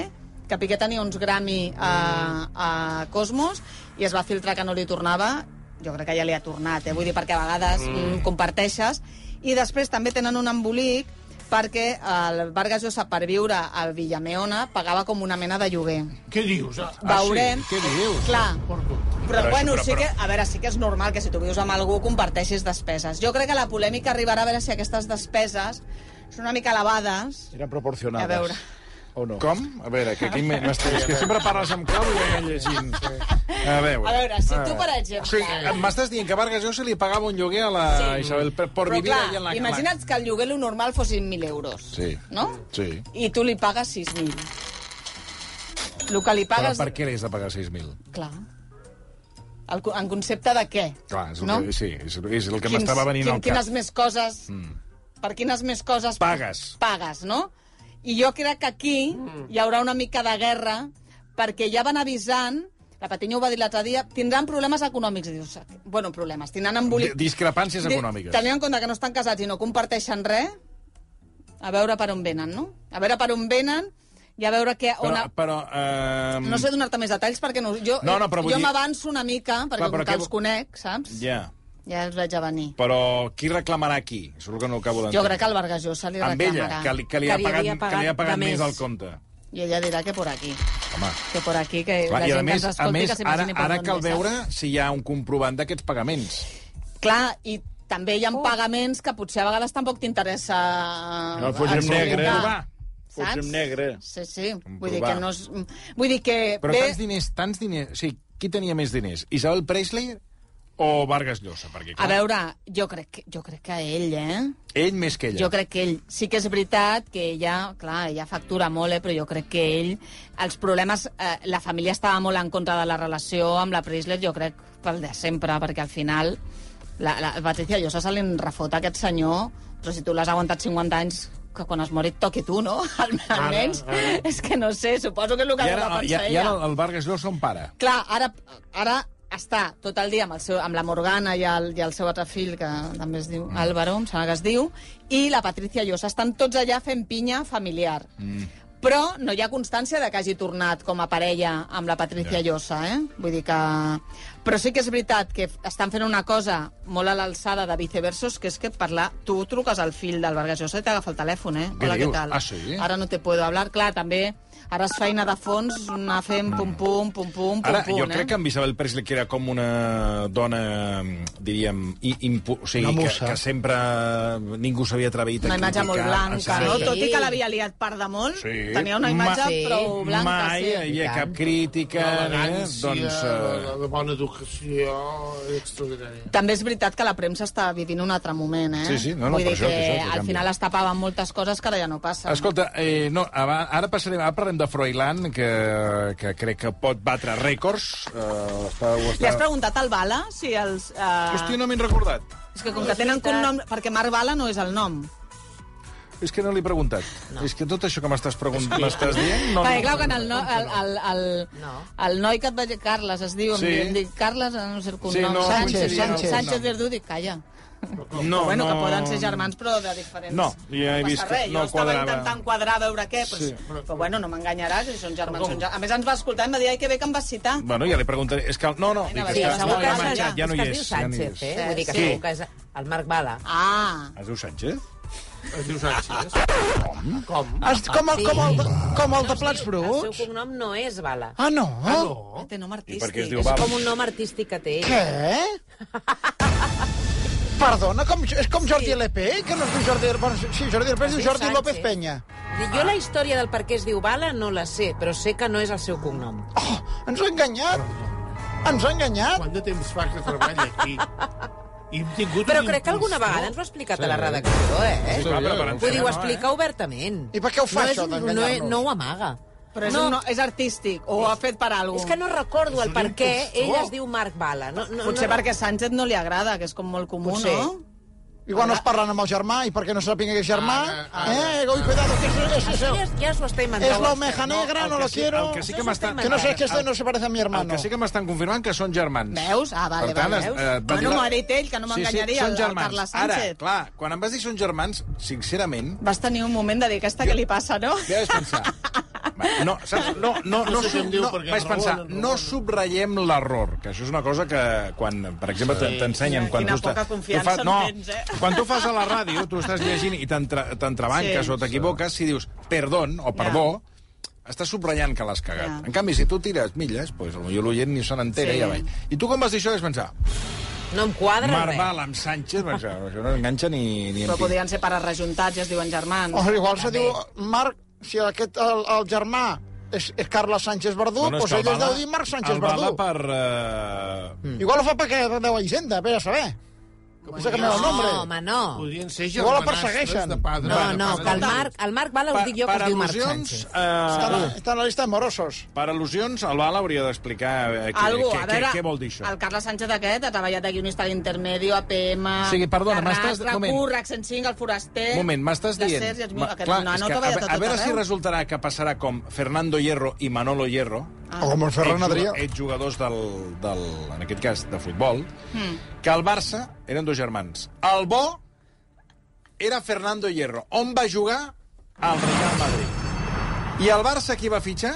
Speaker 5: que Piqué tenia uns Grammy a, a Cosmos i es va filtrar que no li tornava. Jo crec que ja li ha tornat, eh? Vull dir, perquè a vegades mm. comparteixes. I després també tenen un embolic perquè el Vargas Llosa per viure al Villameona pagava com una mena de lloguer.
Speaker 6: Què dius? Ah,
Speaker 2: Ah, sí?
Speaker 5: Veurem...
Speaker 2: Què dius?
Speaker 5: Clar,
Speaker 6: porco.
Speaker 5: però,
Speaker 2: Però,
Speaker 5: però bueno,
Speaker 2: però,
Speaker 5: sí
Speaker 2: però-
Speaker 5: que, a veure, sí que és normal que si tu vius amb algú comparteixis despeses. Jo crec que la polèmica arribarà a veure si aquestes despeses són una mica elevades.
Speaker 10: Eren proporcionades.
Speaker 5: A veure.
Speaker 10: O no?
Speaker 2: Com? A veure, que aquí m'estàs... És que sempre parles amb clau i anem llegint. A veure...
Speaker 5: A veure, si tu, per exemple...
Speaker 2: O sigui, m'estàs dient que a Vargas Llosa li pagava un lloguer a la sí. Isabel per, per
Speaker 5: Però
Speaker 2: vivir
Speaker 5: clar,
Speaker 2: allà en la
Speaker 5: imagina't que el lloguer lo normal fossin 1.000 euros,
Speaker 2: Sí.
Speaker 5: no?
Speaker 2: Sí.
Speaker 5: I tu li pagues 6.000. El que li
Speaker 2: Però
Speaker 5: pagues...
Speaker 2: per què li has de pagar 6.000?
Speaker 5: Clar. El, co- en concepte de què?
Speaker 2: Clar, és el,
Speaker 5: no?
Speaker 2: que, sí, és, és el que
Speaker 5: Quins-
Speaker 2: m'estava venint
Speaker 5: quin-
Speaker 2: al cap. Mm.
Speaker 5: Quines més coses... Per quines més coses...
Speaker 2: Pagues.
Speaker 5: Pagues, no? I jo crec que aquí hi haurà una mica de guerra, perquè ja van avisant, la Patiño ho va dir l'altre dia, tindran problemes econòmics, dius. Bueno, problemes, tindran embolic...
Speaker 2: Di- Discrepàncies econòmiques.
Speaker 5: Tenint en compte que no estan casats i no comparteixen res, a veure per on venen, no? A veure per on venen i a veure què...
Speaker 2: Però,
Speaker 5: on... a-
Speaker 2: però, eh,
Speaker 5: No sé donar-te més detalls perquè no, jo,
Speaker 2: No, no, però vull
Speaker 5: jo
Speaker 2: dir-
Speaker 5: m'avanço una mica, perquè
Speaker 2: Clar,
Speaker 5: com
Speaker 2: però
Speaker 5: que
Speaker 2: què
Speaker 5: els
Speaker 2: vo-
Speaker 5: conec, saps?
Speaker 2: Ja,
Speaker 5: Ja els veig a venir.
Speaker 2: però qui reclamarà aquí? Això és el que no acabo d'entendre.
Speaker 5: Jo crec que el Vargas Llosa li
Speaker 2: Amb ella,
Speaker 5: reclamarà.
Speaker 2: que li, que li, ha,
Speaker 3: Que li
Speaker 2: pagat,
Speaker 3: havia
Speaker 2: que li ha
Speaker 3: pagat
Speaker 2: pagat
Speaker 3: de
Speaker 2: més
Speaker 3: més.
Speaker 2: del compte.
Speaker 5: I ella dirà que por aquí.
Speaker 2: Home,
Speaker 5: Que por aquí, que
Speaker 2: clar,
Speaker 5: la
Speaker 2: i a
Speaker 5: gent
Speaker 2: més,
Speaker 5: que ens
Speaker 2: a
Speaker 5: escolti
Speaker 2: més
Speaker 5: que
Speaker 2: ara,
Speaker 5: s'imagini per
Speaker 2: ara
Speaker 5: on
Speaker 2: cal
Speaker 5: ve,
Speaker 2: veure
Speaker 5: saps?
Speaker 2: si hi ha un comprovant d'aquests pagaments.
Speaker 5: Clar, i també hi ha pagaments que potser a vegades tampoc t'interessa...
Speaker 9: No, fos en
Speaker 5: explicar,
Speaker 9: negre.
Speaker 5: saps?
Speaker 9: Fos en negre.
Speaker 5: Sí, sí. Vull dir
Speaker 2: Comprovar.
Speaker 5: que no és... Vull dir que...
Speaker 2: Però
Speaker 5: ve...
Speaker 2: tants diners, tants diners... O sigui, qui tenia més diners? Isabel Presley o Vargas Llosa? Perquè,
Speaker 5: A
Speaker 2: clar,
Speaker 5: veure, jo crec, que, jo crec que ell, eh?
Speaker 2: ell més que ella.
Speaker 5: Jo crec que ell... Sí que és veritat que ella, clar, ella factura molt, eh? Però jo crec que ell... Els problemes... Eh, la família estava molt en contra de la relació amb la Presley, jo crec, pel de sempre, perquè al final... La, la Patricia Llosa se li refota a aquest senyor, però si tu l'has aguantat 50 anys, que quan es mori et toqui tu, no? Al- Almenys, és que no sé, suposo que és el
Speaker 2: I
Speaker 5: que ha de
Speaker 2: ara,
Speaker 5: pensar
Speaker 2: i, ara-
Speaker 5: ella.
Speaker 2: i ara el Vargas Llosa on para?
Speaker 5: Clar, ara, ara està tot el dia amb, el seu, amb la Morgana i el, i el seu altre fill, que també es diu
Speaker 2: Mm.
Speaker 5: Álvaro, em sembla que es diu, i la Patricia Llosa. Estan tots allà fent pinya familiar. Mm. Però no hi ha constància de que hagi tornat com a parella amb la Patricia Llosa, eh? Vull dir que... Però sí que és veritat que f- estan fent una cosa molt a l'alçada de viceversos, que és que parlar... Tu truques al fill del Vargas Llosa i t'agafa el telèfon, eh?
Speaker 2: Què
Speaker 5: Hola,
Speaker 2: dius?
Speaker 5: què tal?
Speaker 2: Ah, sí?
Speaker 5: Ara no te puedo hablar. Clar, també ara és feina de fons, anar fent pum-pum, pum-pum,
Speaker 2: Mm. Ara,
Speaker 5: pum,
Speaker 2: jo
Speaker 5: eh?
Speaker 2: crec que amb Isabel Presley, que era com una dona, diríem, i, impu, o sigui,
Speaker 6: Una
Speaker 2: que,
Speaker 6: musa.
Speaker 2: que sempre ningú s'havia atrevit a
Speaker 5: Una imatge molt
Speaker 2: criticar,
Speaker 5: blanca,
Speaker 2: etcètera.
Speaker 5: no?
Speaker 3: Sí.
Speaker 5: Tot i que l'havia liat per damunt,
Speaker 2: Ah, Sí.
Speaker 5: tenia una imatge
Speaker 3: Ma- sí.
Speaker 5: prou blanca,
Speaker 2: Mai hi
Speaker 5: sí.
Speaker 2: havia
Speaker 3: I tant.
Speaker 2: cap crítica, eh?
Speaker 6: L'elegància,
Speaker 2: doncs...
Speaker 6: la,
Speaker 2: Eh,
Speaker 6: la bona educació, extraordinària.
Speaker 5: També és veritat que la premsa està vivint un altre moment, eh?
Speaker 2: Sí, sí, no, no,
Speaker 5: Vull
Speaker 2: per
Speaker 5: dir
Speaker 2: això,
Speaker 5: que
Speaker 2: per això, que
Speaker 5: al
Speaker 2: canvia.
Speaker 5: final es tapaven moltes coses que ara ja no passen.
Speaker 2: Escolta, eh, no, aba- ara, passarem, ara parlem de Froilán, que, que crec que pot batre rècords. Eh, està, ho
Speaker 5: Li
Speaker 2: està...
Speaker 5: has preguntat al Bala si els... Eh...
Speaker 2: Hòstia, no m'he recordat.
Speaker 5: És que com que tenen cognom... Perquè Marc Bala no és el nom.
Speaker 2: És que no l'he preguntat. No. És que tot això que m'estàs pregunt... m'estàs dient... No,
Speaker 5: Perquè, clar, quan el, no, el, el, el,
Speaker 3: No.
Speaker 5: el noi que et va dir Carles es diu...
Speaker 2: Sí.
Speaker 5: Sí. Em dic Carles, no sé el cognom.
Speaker 2: no,
Speaker 5: Sánchez,
Speaker 2: coincidia, no,
Speaker 5: Sánchez,
Speaker 2: no.
Speaker 5: Sánchez Verdú, dic, calla.
Speaker 2: no,
Speaker 5: No,
Speaker 2: no,
Speaker 5: bueno, que poden ser germans, però de diferents...
Speaker 2: No, ja he
Speaker 5: passa
Speaker 2: vist que
Speaker 5: res.
Speaker 2: no
Speaker 5: jo estava
Speaker 2: quadrava.
Speaker 5: intentant quadrar a veure què, però, sí. però, bueno, no m'enganyarà, si són germans, són germans. A més, ens va escoltar i em va dir, ai, que bé que em vas citar.
Speaker 2: Bueno, ja li preguntaré. És que... No, no, dic,
Speaker 5: va,
Speaker 2: és
Speaker 5: sí,
Speaker 2: que,
Speaker 5: segur
Speaker 2: no,
Speaker 5: que
Speaker 2: ja,
Speaker 5: és
Speaker 2: ha
Speaker 5: allà.
Speaker 2: marxat, ja no hi
Speaker 3: és. que
Speaker 2: és.
Speaker 3: es diu Sánchez,
Speaker 2: ja no hi és.
Speaker 3: eh? Vull dir que
Speaker 5: Sí.
Speaker 3: segur que és el Marc Bala.
Speaker 5: Ah,
Speaker 2: Es diu Sánchez?
Speaker 6: Es diu Sánchez. Com?
Speaker 5: Ah,
Speaker 4: Es, com, el, com, el, de- com el de
Speaker 3: El
Speaker 4: plats
Speaker 3: seu
Speaker 4: bruts?
Speaker 3: cognom no és Bala.
Speaker 4: Ah, no?
Speaker 6: Ah, no.
Speaker 5: té nom
Speaker 2: I
Speaker 5: artístic.
Speaker 2: per què es diu
Speaker 3: És
Speaker 2: Bala?
Speaker 3: com un nom artístic que té ell.
Speaker 4: Què? Perdona, com, és com Jordi LP, que no es diu Jordi... Bueno, sí, Jordi LP es diu
Speaker 3: diu
Speaker 4: Jordi
Speaker 3: Sánchez.
Speaker 4: López Penya.
Speaker 3: Jo la història del per què es diu Bala no la sé, però sé que no és el seu cognom.
Speaker 4: Oh, ens ha enganyat. Ens ha enganyat.
Speaker 6: Quant de temps fa que treballa aquí? I hem tingut
Speaker 3: Però
Speaker 6: un
Speaker 3: crec que alguna
Speaker 6: impulsor.
Speaker 3: vegada ens ho ha explicat a la redacció, eh?
Speaker 2: Clar, però per
Speaker 3: Vull dir, ho
Speaker 2: antena no, eh?
Speaker 3: explica obertament.
Speaker 4: I per què ho fa,
Speaker 3: no és
Speaker 4: això,
Speaker 3: un- no,
Speaker 4: d'enganyar-nos?
Speaker 3: no ho amaga.
Speaker 5: Però és,
Speaker 3: No.
Speaker 5: no. Un, no- és artístic, o ho ha fet per alguna
Speaker 3: És que no recordo el
Speaker 6: un
Speaker 3: per què
Speaker 6: impostor.
Speaker 3: ell es diu Marc Bala. No, no,
Speaker 5: Potser
Speaker 3: no.
Speaker 5: perquè Sánchez no li agrada, que és com molt comú,
Speaker 3: Potser.
Speaker 5: no?
Speaker 4: Igual no es parlen amb el germà, i perquè no sàpiga que és germà... eh, oi, cuidado, que és, és, és,
Speaker 3: Això
Speaker 4: és,
Speaker 3: ja, ja s'ho està inventant.
Speaker 4: és la omeja negra, no,
Speaker 2: el
Speaker 4: lo
Speaker 2: que sí-
Speaker 4: quiero...
Speaker 2: el que sí que
Speaker 3: Això és
Speaker 2: m'estan...
Speaker 3: un tema
Speaker 4: Que no sé, que
Speaker 2: el,
Speaker 4: este no se parece a mi
Speaker 2: el
Speaker 4: hermano.
Speaker 2: que sí que m'estan confirmant que són germans.
Speaker 5: Veus? Ah,
Speaker 2: per
Speaker 5: vale,
Speaker 2: tant,
Speaker 5: vale.
Speaker 2: es-
Speaker 5: veus?
Speaker 2: eh, et va
Speaker 5: bueno,
Speaker 2: dir la-
Speaker 5: Marité, que no m'enganyaria,
Speaker 2: són
Speaker 5: el, el
Speaker 2: germans.
Speaker 5: Carles
Speaker 2: Ara,
Speaker 5: Sánchez.
Speaker 2: clar, quan em vas dir són germans, sincerament,
Speaker 5: Vas tenir un moment de dir, aquesta què li passa, no?
Speaker 2: què vaig pensar? Va, No, saps? No, no, no,
Speaker 6: No sé què em
Speaker 2: sub-
Speaker 6: diu,
Speaker 2: no,
Speaker 6: perquè
Speaker 2: vaig
Speaker 6: em
Speaker 2: pensar,
Speaker 6: robonen, em
Speaker 2: no
Speaker 6: robonen.
Speaker 2: subratllem l'error, que això és una cosa que quan, per exemple, te- t'ensenyen...
Speaker 5: Quina-
Speaker 2: quan
Speaker 5: quina
Speaker 2: tu estàs-
Speaker 5: poca
Speaker 2: tu
Speaker 5: confiança
Speaker 2: fas-
Speaker 5: em
Speaker 2: no,
Speaker 5: tens, eh?
Speaker 2: Quan tu fas a la ràdio, tu estàs llegint i t'entra- t'entrebanques
Speaker 5: Sí.
Speaker 2: o t'equivoques, si dius perdón o perdó, estàs subratllant que l'has cagat.
Speaker 5: Ja.
Speaker 2: En canvi, si tu tires milles, pues, potser l'oient ni se n'entera
Speaker 5: Sí.
Speaker 2: i ja va. I tu quan vas dir això vas pensar,
Speaker 3: No em quadra
Speaker 2: Marval amb Sánchez, vaig dir, això no enganxa ni... ni en
Speaker 5: Però
Speaker 2: fi.
Speaker 5: podrien ser pares rejuntats i es diuen germans.
Speaker 2: Oh,
Speaker 4: O igual se diu, Marc, si aquest, el, el germà és, és Carles Sánchez Verdú,
Speaker 2: és
Speaker 4: doncs
Speaker 2: que el
Speaker 4: ell es
Speaker 2: Bala-
Speaker 4: deu dir Marc Sánchez
Speaker 2: el Bala
Speaker 4: Verdú.
Speaker 2: per... Uh...
Speaker 4: Igual ho fa perquè deu a Hisenda, vés a saber. Que posa que no el
Speaker 3: No,
Speaker 4: nombre.
Speaker 3: home, no.
Speaker 6: Podrien ser
Speaker 4: No la
Speaker 6: germanastres
Speaker 4: persegueixen.
Speaker 6: de padre.
Speaker 3: Ah. No, no, que el
Speaker 6: Escolta,
Speaker 3: Marc, el Marc Bala us
Speaker 2: Per,
Speaker 3: dic jo que
Speaker 2: per
Speaker 3: es diu Marc
Speaker 2: al·lusions,
Speaker 3: Sánchez.
Speaker 4: Està,
Speaker 2: eh,
Speaker 4: la, està en la llista de morosos.
Speaker 2: per al·lusions, el Bala hauria d'explicar eh, què,
Speaker 5: Algo,
Speaker 2: què,
Speaker 5: a
Speaker 2: què,
Speaker 5: veure,
Speaker 2: què vol dir això.
Speaker 5: el Carles Sánchez aquest ha treballat de guionista a l'Intermedio, a PM...
Speaker 2: O sigui, perdona, m'estàs-
Speaker 5: Carràs,
Speaker 2: moment.
Speaker 5: Recur, Accent 5, El Foraster...
Speaker 2: Un moment, m'estàs dient...
Speaker 5: Cercs, Dios mío,
Speaker 2: Ma-
Speaker 5: aquest
Speaker 2: clar,
Speaker 5: nano
Speaker 2: és
Speaker 5: ha
Speaker 2: que a,
Speaker 5: treballat a
Speaker 2: ve- a
Speaker 5: tot
Speaker 2: veure si
Speaker 5: arreu.
Speaker 2: resultarà que passarà com Fernando Hierro i Manolo Hierro,
Speaker 4: Ah. O com el Ferran Adrià.
Speaker 2: exjugadors del, del, en aquest cas, de futbol,
Speaker 3: Hmm.
Speaker 2: mm. que al Barça eren dos germans. El bo era Fernando Hierro. On va jugar? Al Real Madrid. I el Barça qui va fitxar?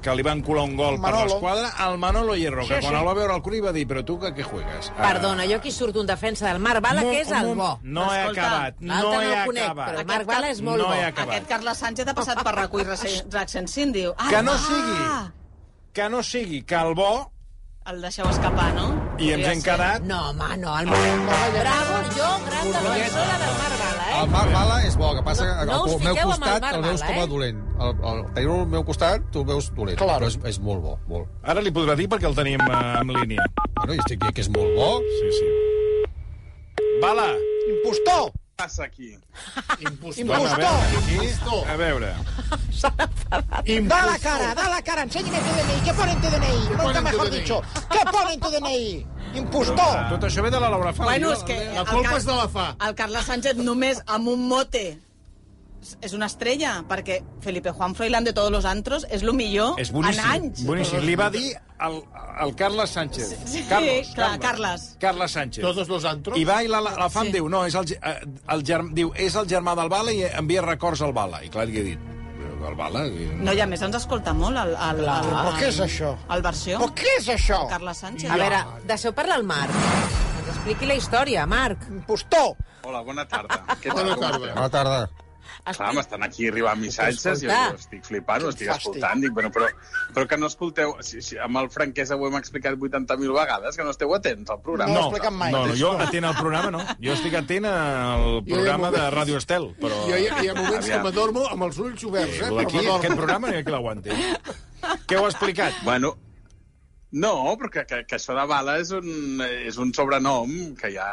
Speaker 2: Que li van colar un gol
Speaker 4: Manolo.
Speaker 2: per l'esquadra al Manolo Hierro, que
Speaker 4: Sí,
Speaker 2: quan
Speaker 4: sí.
Speaker 2: el va veure al Curi va dir, però tu que què juegues? Ah,
Speaker 3: Perdona, jo aquí surto un defensa del Marc Bala,
Speaker 2: Mo-
Speaker 3: que és
Speaker 2: mo-
Speaker 3: el bo.
Speaker 2: No he
Speaker 5: Escolta,
Speaker 2: acabat, no
Speaker 3: l'altre
Speaker 2: he
Speaker 3: no el conec,
Speaker 2: acabat.
Speaker 3: però Marc Bala és molt
Speaker 2: no
Speaker 3: bo.
Speaker 2: he acabat.
Speaker 5: Aquest Carles Sánchez ha passat per Recull, Accent 5, diu... Ah,
Speaker 2: Que no
Speaker 5: va!
Speaker 2: sigui. Que no sigui que el bo,
Speaker 5: El deixeu escapar, no?
Speaker 2: i ens
Speaker 5: Podria
Speaker 2: hem
Speaker 5: ser.
Speaker 2: quedat...
Speaker 3: No, home, no, el Marc Bravo, jo, gran defensora del Marc Bala, eh?
Speaker 8: El Marc Bala és bo, el que passa
Speaker 3: No-
Speaker 8: que
Speaker 3: no us
Speaker 8: al meu
Speaker 3: fiqueu amb el
Speaker 8: costat
Speaker 3: Marc
Speaker 8: el veus
Speaker 3: Bala,
Speaker 8: com a
Speaker 3: eh?
Speaker 8: dolent. El, el, tenir al meu costat, tu el veus dolent.
Speaker 4: Claro.
Speaker 8: Però és, és molt bo, molt.
Speaker 2: Ara li podrà dir perquè el tenim eh, en línia.
Speaker 8: Bueno, jo estic dient que és molt bo.
Speaker 2: Sí, sí. Bala!
Speaker 4: Impostor!
Speaker 7: passa aquí?
Speaker 6: Impostor.
Speaker 2: Vam a
Speaker 4: Impostor!
Speaker 2: veure aquí. A veure.
Speaker 4: Da la cara, da la cara, enséñame tu DNI. ¿Qué pone en tu DNI? Nunca
Speaker 6: pone en tu
Speaker 4: mejor
Speaker 6: DNI?
Speaker 4: dicho. ¿Qué pone en tu DNI? Impostor.
Speaker 2: Tot això ve de la Laura Fabio.
Speaker 5: Bueno, és que...
Speaker 6: La
Speaker 5: el
Speaker 6: culpa
Speaker 5: Car-
Speaker 6: és de la fa.
Speaker 5: El Carles Sánchez només amb un mote és una estrella, perquè Felipe Juan Froilán de tots los antros és lo millor
Speaker 2: És boníssim.
Speaker 5: en anys.
Speaker 2: Boníssim. Li va dir al, al Carles Sánchez.
Speaker 5: Sí,
Speaker 2: Carlos,
Speaker 5: clar,
Speaker 2: Carles.
Speaker 5: Carles.
Speaker 2: Carles Sánchez.
Speaker 6: Todos los antros.
Speaker 2: I va i la, la, la fam
Speaker 5: Sí.
Speaker 2: sí. diu, no, és el, ge- eh, el, germ, diu, és el germà del Bala i envia records al Bala. I clar, li he dit, "Però el Bala...
Speaker 5: No, i a més ens escolta molt el, el, el,
Speaker 4: Però què
Speaker 5: el,
Speaker 4: és això?
Speaker 5: el versió,
Speaker 4: Però què és això?
Speaker 5: Carles Sánchez.
Speaker 3: A veure, deixeu parlar el Marc. Que Ens expliqui la història, Marc.
Speaker 4: Impostor.
Speaker 7: Hola, bona tarda. Què tal?
Speaker 6: Bona
Speaker 7: com
Speaker 6: tarda.
Speaker 7: esteu?
Speaker 8: Bona tarda.
Speaker 7: Clar, m'estan aquí arribant missatges i jo
Speaker 3: Escolta.
Speaker 7: estic flipant, ho estic
Speaker 4: Fàstic.
Speaker 7: escoltant. Dic, bueno, però, però que no escolteu... Si, si, amb el franquesa ho hem explicat 80.000 vegades, que no esteu atents al programa.
Speaker 4: No, ho expliquen mai.
Speaker 2: No, no, jo atent al programa, no. Jo estic atent al programa de Ràdio Estel, però...
Speaker 6: Jo hi, hi ha moments
Speaker 7: Aviam.
Speaker 6: que m'adormo amb els ulls oberts, eh?
Speaker 2: Lo
Speaker 6: però
Speaker 2: d'aquí,
Speaker 6: m'adormo.
Speaker 2: aquest programa no hi ha qui l'aguanti. Què heu explicat?
Speaker 7: Bueno, no, però que, que, que això de bala és un, és un sobrenom que ja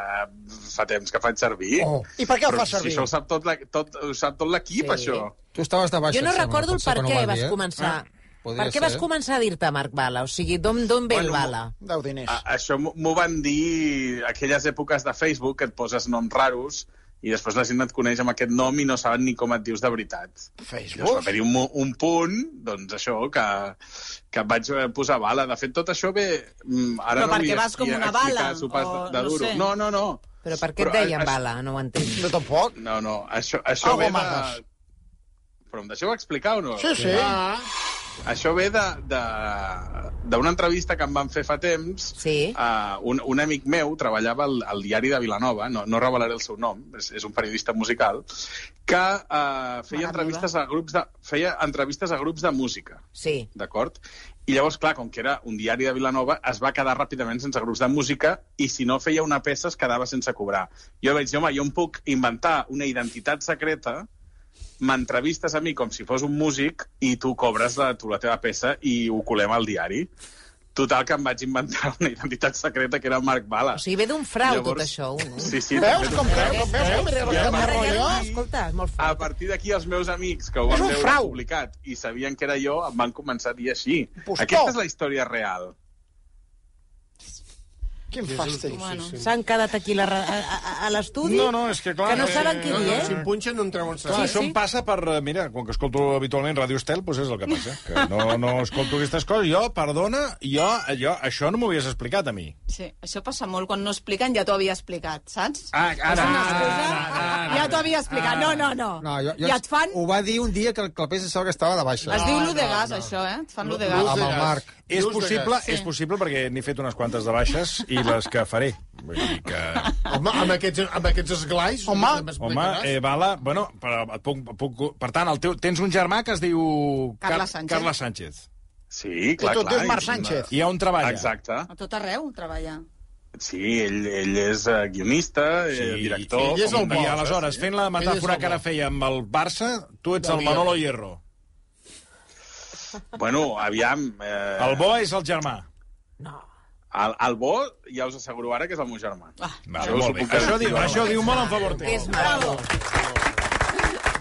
Speaker 7: fa temps que faig servir.
Speaker 8: Oh.
Speaker 4: I per què el
Speaker 7: Però
Speaker 4: fa servir?
Speaker 7: Si això ho sap tot la- tot- ho sap tot l'equip,
Speaker 3: Sí.
Speaker 7: això.
Speaker 8: Tu estaves de baixa.
Speaker 3: Jo no recordo el per què vas començar.
Speaker 8: eh? Ah, podria
Speaker 3: Per què vas
Speaker 8: ser.
Speaker 3: començar a dir-te Marc Bala? O sigui, d'on d'on ve el
Speaker 7: Bueno,
Speaker 3: Bala?
Speaker 4: Deu diners.
Speaker 7: A- Això m'ho- m'ho van dir aquelles èpoques de Facebook que et poses noms raros i després la gent et coneix amb aquest nom i no saben ni com et dius de veritat. Llavors va
Speaker 4: Facebook?
Speaker 7: haver-hi un, mo- un punt, doncs això, que, que em vaig eh, posar bala. De fet, tot això ve... mm, Ara
Speaker 5: Però
Speaker 7: no
Speaker 5: perquè
Speaker 7: vull
Speaker 5: vas com
Speaker 7: aquí
Speaker 5: una
Speaker 7: explicar
Speaker 5: bala,
Speaker 7: sopars
Speaker 5: o
Speaker 7: de, de
Speaker 5: Oh, no
Speaker 7: duro.
Speaker 5: sé.
Speaker 7: No, no, no.
Speaker 3: Però per què et
Speaker 7: Però,
Speaker 3: deien
Speaker 7: eh,
Speaker 3: Bala? No ho entenc.
Speaker 4: Jo tampoc.
Speaker 7: No, no, això, això
Speaker 4: Algo
Speaker 7: ve de...
Speaker 4: amagues.
Speaker 7: Però em deixeu explicar o no?
Speaker 4: Sí, sí.
Speaker 6: Ah,
Speaker 7: Això ve de- de- d'una entrevista que em van fer fa temps.
Speaker 3: Sí.
Speaker 7: Uh, un, un amic meu treballava al, al diari de Vilanova, no, no revelaré el seu nom, és, és un periodista musical, que uh, feia,
Speaker 5: Mare
Speaker 7: entrevistes a grups de, feia entrevistes a grups de música,
Speaker 3: Sí.
Speaker 7: d'acord? I llavors, clar, com que era un diari de Vilanova, es va quedar ràpidament sense grups de música i si no feia una peça es quedava sense cobrar. Jo vaig dir, home, jo em puc inventar una identitat secreta m'entrevistes a mi com si fos un músic i tu cobres la, tu la teva peça i ho colem al diari. Total, que em vaig inventar una identitat secreta que era Marc Bala.
Speaker 3: O sigui, ve d'un frau tot
Speaker 7: Llavors-
Speaker 3: això. Un... eh?
Speaker 7: Sí, sí,
Speaker 4: Veus
Speaker 7: de fet,
Speaker 4: com veus com veus com veus
Speaker 7: Ja Eh, va.
Speaker 4: com
Speaker 7: Ah,
Speaker 4: rotllo?
Speaker 3: Escolta, és molt
Speaker 7: A
Speaker 3: fort.
Speaker 7: partir d'aquí, els meus amics que ho
Speaker 4: És
Speaker 7: van
Speaker 4: un
Speaker 7: veure
Speaker 4: frau.
Speaker 7: publicat i sabien que era jo, em van començar a dir així.
Speaker 4: Impostor.
Speaker 7: Aquesta és la història real.
Speaker 10: Quin fàstic.
Speaker 5: Bueno,
Speaker 3: S'han quedat aquí la, ra- a, a, a l'estudi?
Speaker 2: No, no, és que clar...
Speaker 3: Que no saben qui dir,
Speaker 10: Si
Speaker 3: eh?
Speaker 10: em punxen no em treuen
Speaker 2: Clar,
Speaker 10: serà.
Speaker 2: això em passa per... eh, Mira, com que escolto habitualment Ràdio Estel, doncs és el que passa. Que no, no escolto aquestes coses. Jo, perdona, jo, jo això no m'ho havies explicat a mi.
Speaker 5: sí, això passa molt. Quan no expliquen, ja t'ho havia explicat, saps?
Speaker 2: Ah, ara,
Speaker 5: Una excusa, ja t'ho havia explicat. No, no, no.
Speaker 8: No, jo, jo
Speaker 5: I et fan...
Speaker 8: Ho va dir un dia que el clapés de sort estava de baixa.
Speaker 5: Es
Speaker 8: Ah,
Speaker 5: diu lo de gas, això, eh? Et fan lo de
Speaker 10: L'ús
Speaker 5: gas.
Speaker 8: Amb el Marc.
Speaker 2: És
Speaker 10: L'ús de
Speaker 2: possible,
Speaker 10: gas.
Speaker 2: és possible perquè n'he fet unes quantes de baixes i les que faré. Vull dir que...
Speaker 10: Home, amb aquests, amb aquests esglais...
Speaker 2: Home,
Speaker 6: Ah,
Speaker 10: no
Speaker 2: home
Speaker 10: m'explicaràs.
Speaker 2: eh, Bala, bueno, però et puc, puc, per tant, el teu, tens un germà que es diu...
Speaker 5: Carles Sánchez.
Speaker 2: Carles Sánchez.
Speaker 7: Sí,
Speaker 10: Que
Speaker 7: clar,
Speaker 10: tot
Speaker 7: clar.
Speaker 10: és Marc
Speaker 7: i-
Speaker 10: Sánchez.
Speaker 2: I on treballa?
Speaker 7: Exacte.
Speaker 5: A tot arreu treballa.
Speaker 7: Sí, ell, ell és eh, guionista, sí, eh, director...
Speaker 10: ell és el
Speaker 7: com de
Speaker 2: I
Speaker 10: bo.
Speaker 7: coses,
Speaker 2: aleshores,
Speaker 7: sí.
Speaker 2: fent la
Speaker 10: Ell és
Speaker 2: metàfora
Speaker 10: el
Speaker 2: que ara
Speaker 10: bo.
Speaker 2: feia amb el Barça, tu ets el
Speaker 10: Del
Speaker 2: Manolo Hierro.
Speaker 7: Bueno, aviam... Eh,
Speaker 2: El bo és el germà.
Speaker 7: El, el bo, ja us asseguro ara que és el meu germà. Ah,
Speaker 2: Val, molt bé. Això, diu, això diu molt en favor teu.
Speaker 3: És maco.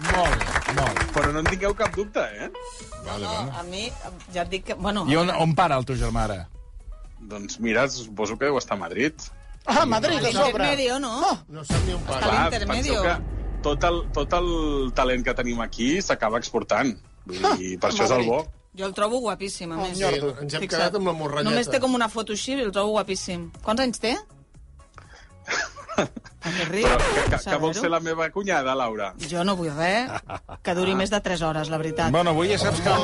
Speaker 2: Molt, molt.
Speaker 7: Però no en tingueu cap dubte, eh?
Speaker 5: No, a mi, ja et dic que... Bueno,
Speaker 2: I on, on para el teu germà ara?
Speaker 7: Doncs mira, suposo que deu estar a Madrid.
Speaker 10: Ah, Madrid, a sobre.
Speaker 5: Intermedio, no?
Speaker 10: No sap ni on
Speaker 5: A
Speaker 10: para.
Speaker 7: Clar,
Speaker 5: l'intermedio.
Speaker 7: penseu que tot el, tot el talent que tenim aquí s'acaba exportant. Vull dir, per
Speaker 10: a
Speaker 7: això és el bo.
Speaker 10: Madrid.
Speaker 5: Jo el trobo guapíssim, a
Speaker 10: Oh,
Speaker 5: més.
Speaker 10: sí, ens hem quedat amb la morralleta.
Speaker 5: Només té com una foto així, el trobo guapíssim. Quants anys té? Per què riu?
Speaker 7: Però que, que, que vol
Speaker 5: Saber-ho?
Speaker 7: ser la meva cunyada, Laura?
Speaker 5: Jo no vull res que duri més de 3 hores, la veritat.
Speaker 2: Bueno, avui ja saps que...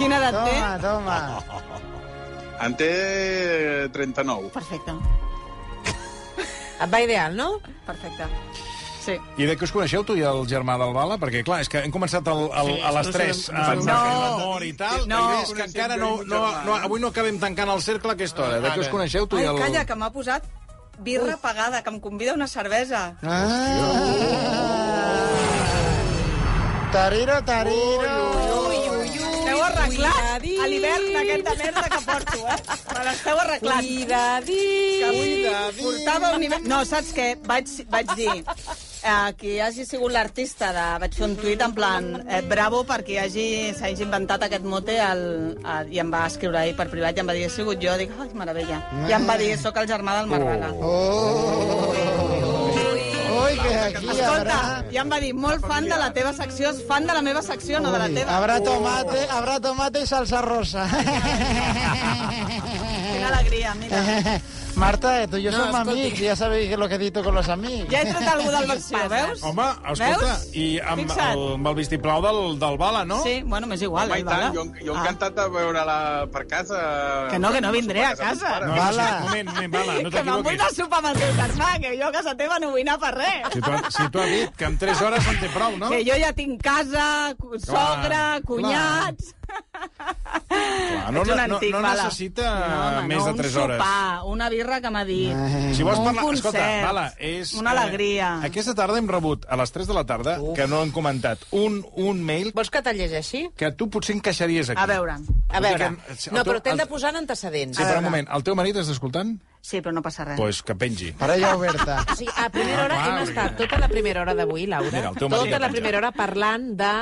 Speaker 5: Quina edat té?
Speaker 4: Toma, toma.
Speaker 7: En té 39.
Speaker 5: Perfecte,
Speaker 3: Et va ideal, no?
Speaker 5: perfecte. Sí.
Speaker 2: I de què us coneixeu, tu i el germà del Bala? Perquè, clar, és que hem començat el, el,
Speaker 6: Sí,
Speaker 2: a les
Speaker 6: no
Speaker 2: 3
Speaker 6: sabem-
Speaker 2: amb
Speaker 6: no
Speaker 2: no. l'amor i tal,
Speaker 5: No.
Speaker 2: i és que encara no, no, no, avui no acabem tancant el cercle a aquesta hora. De què us coneixeu, tu
Speaker 5: Ai,
Speaker 2: i el...
Speaker 5: calla, que m'ha posat birra pagada, que em convida a una cervesa.
Speaker 4: Tarira, tarira.
Speaker 5: Esteu arreglat
Speaker 3: Cuidadí.
Speaker 5: a l'hivern aquesta merda que porto, eh? Me l'esteu arreglant.
Speaker 3: Cuidadí.
Speaker 5: Que avui portava un nivell... No, saps què? Vaig, vaig dir eh, qui hagi sigut l'artista de... Vaig fer un tuit en plan eh, bravo perquè hagi s'hagi inventat aquest mote el, el, i em va escriure ahir per privat i em va dir he sigut jo, dic, ai, meravella. I em va dir, sóc el germà del Marraga.
Speaker 4: Oh. Ui, que aquí
Speaker 5: Escolta,
Speaker 4: habrá...
Speaker 5: i em va dir, molt fan de la teva secció, és fan de la meva secció, no de la teva.
Speaker 4: Habrá tomate, habrá tomate y salsa rosa.
Speaker 5: Quina alegria, mira.
Speaker 4: Marta, eh, tú y yo somos amigos, ya sabéis lo que dito con los amigos.
Speaker 5: Ja he tret algú del versió, veus?
Speaker 2: Home, escolta,
Speaker 5: Veus?
Speaker 2: i amb
Speaker 5: Fixa't.
Speaker 2: el, amb el vistiplau del, del Bala, no?
Speaker 5: Sí, bueno, m'és igual.
Speaker 7: Home,
Speaker 5: eh,
Speaker 7: i tant,
Speaker 5: Bala?
Speaker 7: jo, jo encantat de veure-la per casa.
Speaker 5: Que no, que no vindré a casa.
Speaker 2: No, no,
Speaker 4: Bala.
Speaker 2: sí, un moment, un moment, Bala, no
Speaker 5: que me'n vull de
Speaker 2: t'equivoquis.
Speaker 5: sopar amb el teu germà, que jo a casa teva no vull anar per res.
Speaker 2: Si tu, si tu has dit que en 3 hores en té prou, no?
Speaker 5: Que jo ja tinc casa, cu- sogra, cunyats...
Speaker 2: Clar, no,
Speaker 5: Ets un
Speaker 2: no, no,
Speaker 5: antic,
Speaker 2: no
Speaker 5: Bala.
Speaker 2: necessita
Speaker 5: home,
Speaker 2: més
Speaker 5: no,
Speaker 2: de 3
Speaker 5: un
Speaker 2: hores. Eh.
Speaker 5: Sopar, una birra que m'ha dit.
Speaker 2: Si vols
Speaker 5: Un
Speaker 2: parlar... escolta,
Speaker 5: concert.
Speaker 2: Bala, és...
Speaker 5: Una alegria.
Speaker 2: Eh, aquesta tarda hem rebut, a les 3 de la tarda, que no hem comentat, un, un mail
Speaker 3: Vols que te'l llegeixi?
Speaker 2: que tu potser encaixaries aquí.
Speaker 5: A veure.
Speaker 3: A
Speaker 2: Vull dir
Speaker 3: veure,
Speaker 2: que- el
Speaker 3: no,
Speaker 2: teu-
Speaker 3: però t'hem de
Speaker 2: el-
Speaker 3: posar en antecedents.
Speaker 2: Sí, però un moment, el teu marit està escoltant? Doncs
Speaker 5: Sí, però no passa res.
Speaker 2: pues que pengi.
Speaker 4: Parella oberta.
Speaker 3: O sigui, a primera hora
Speaker 2: Ah, clar,
Speaker 3: hem estat tota la primera hora d'avui, Laura,
Speaker 2: Mira, el teu marit
Speaker 3: tota
Speaker 2: ja
Speaker 3: la
Speaker 2: penja.
Speaker 3: primera hora parlant de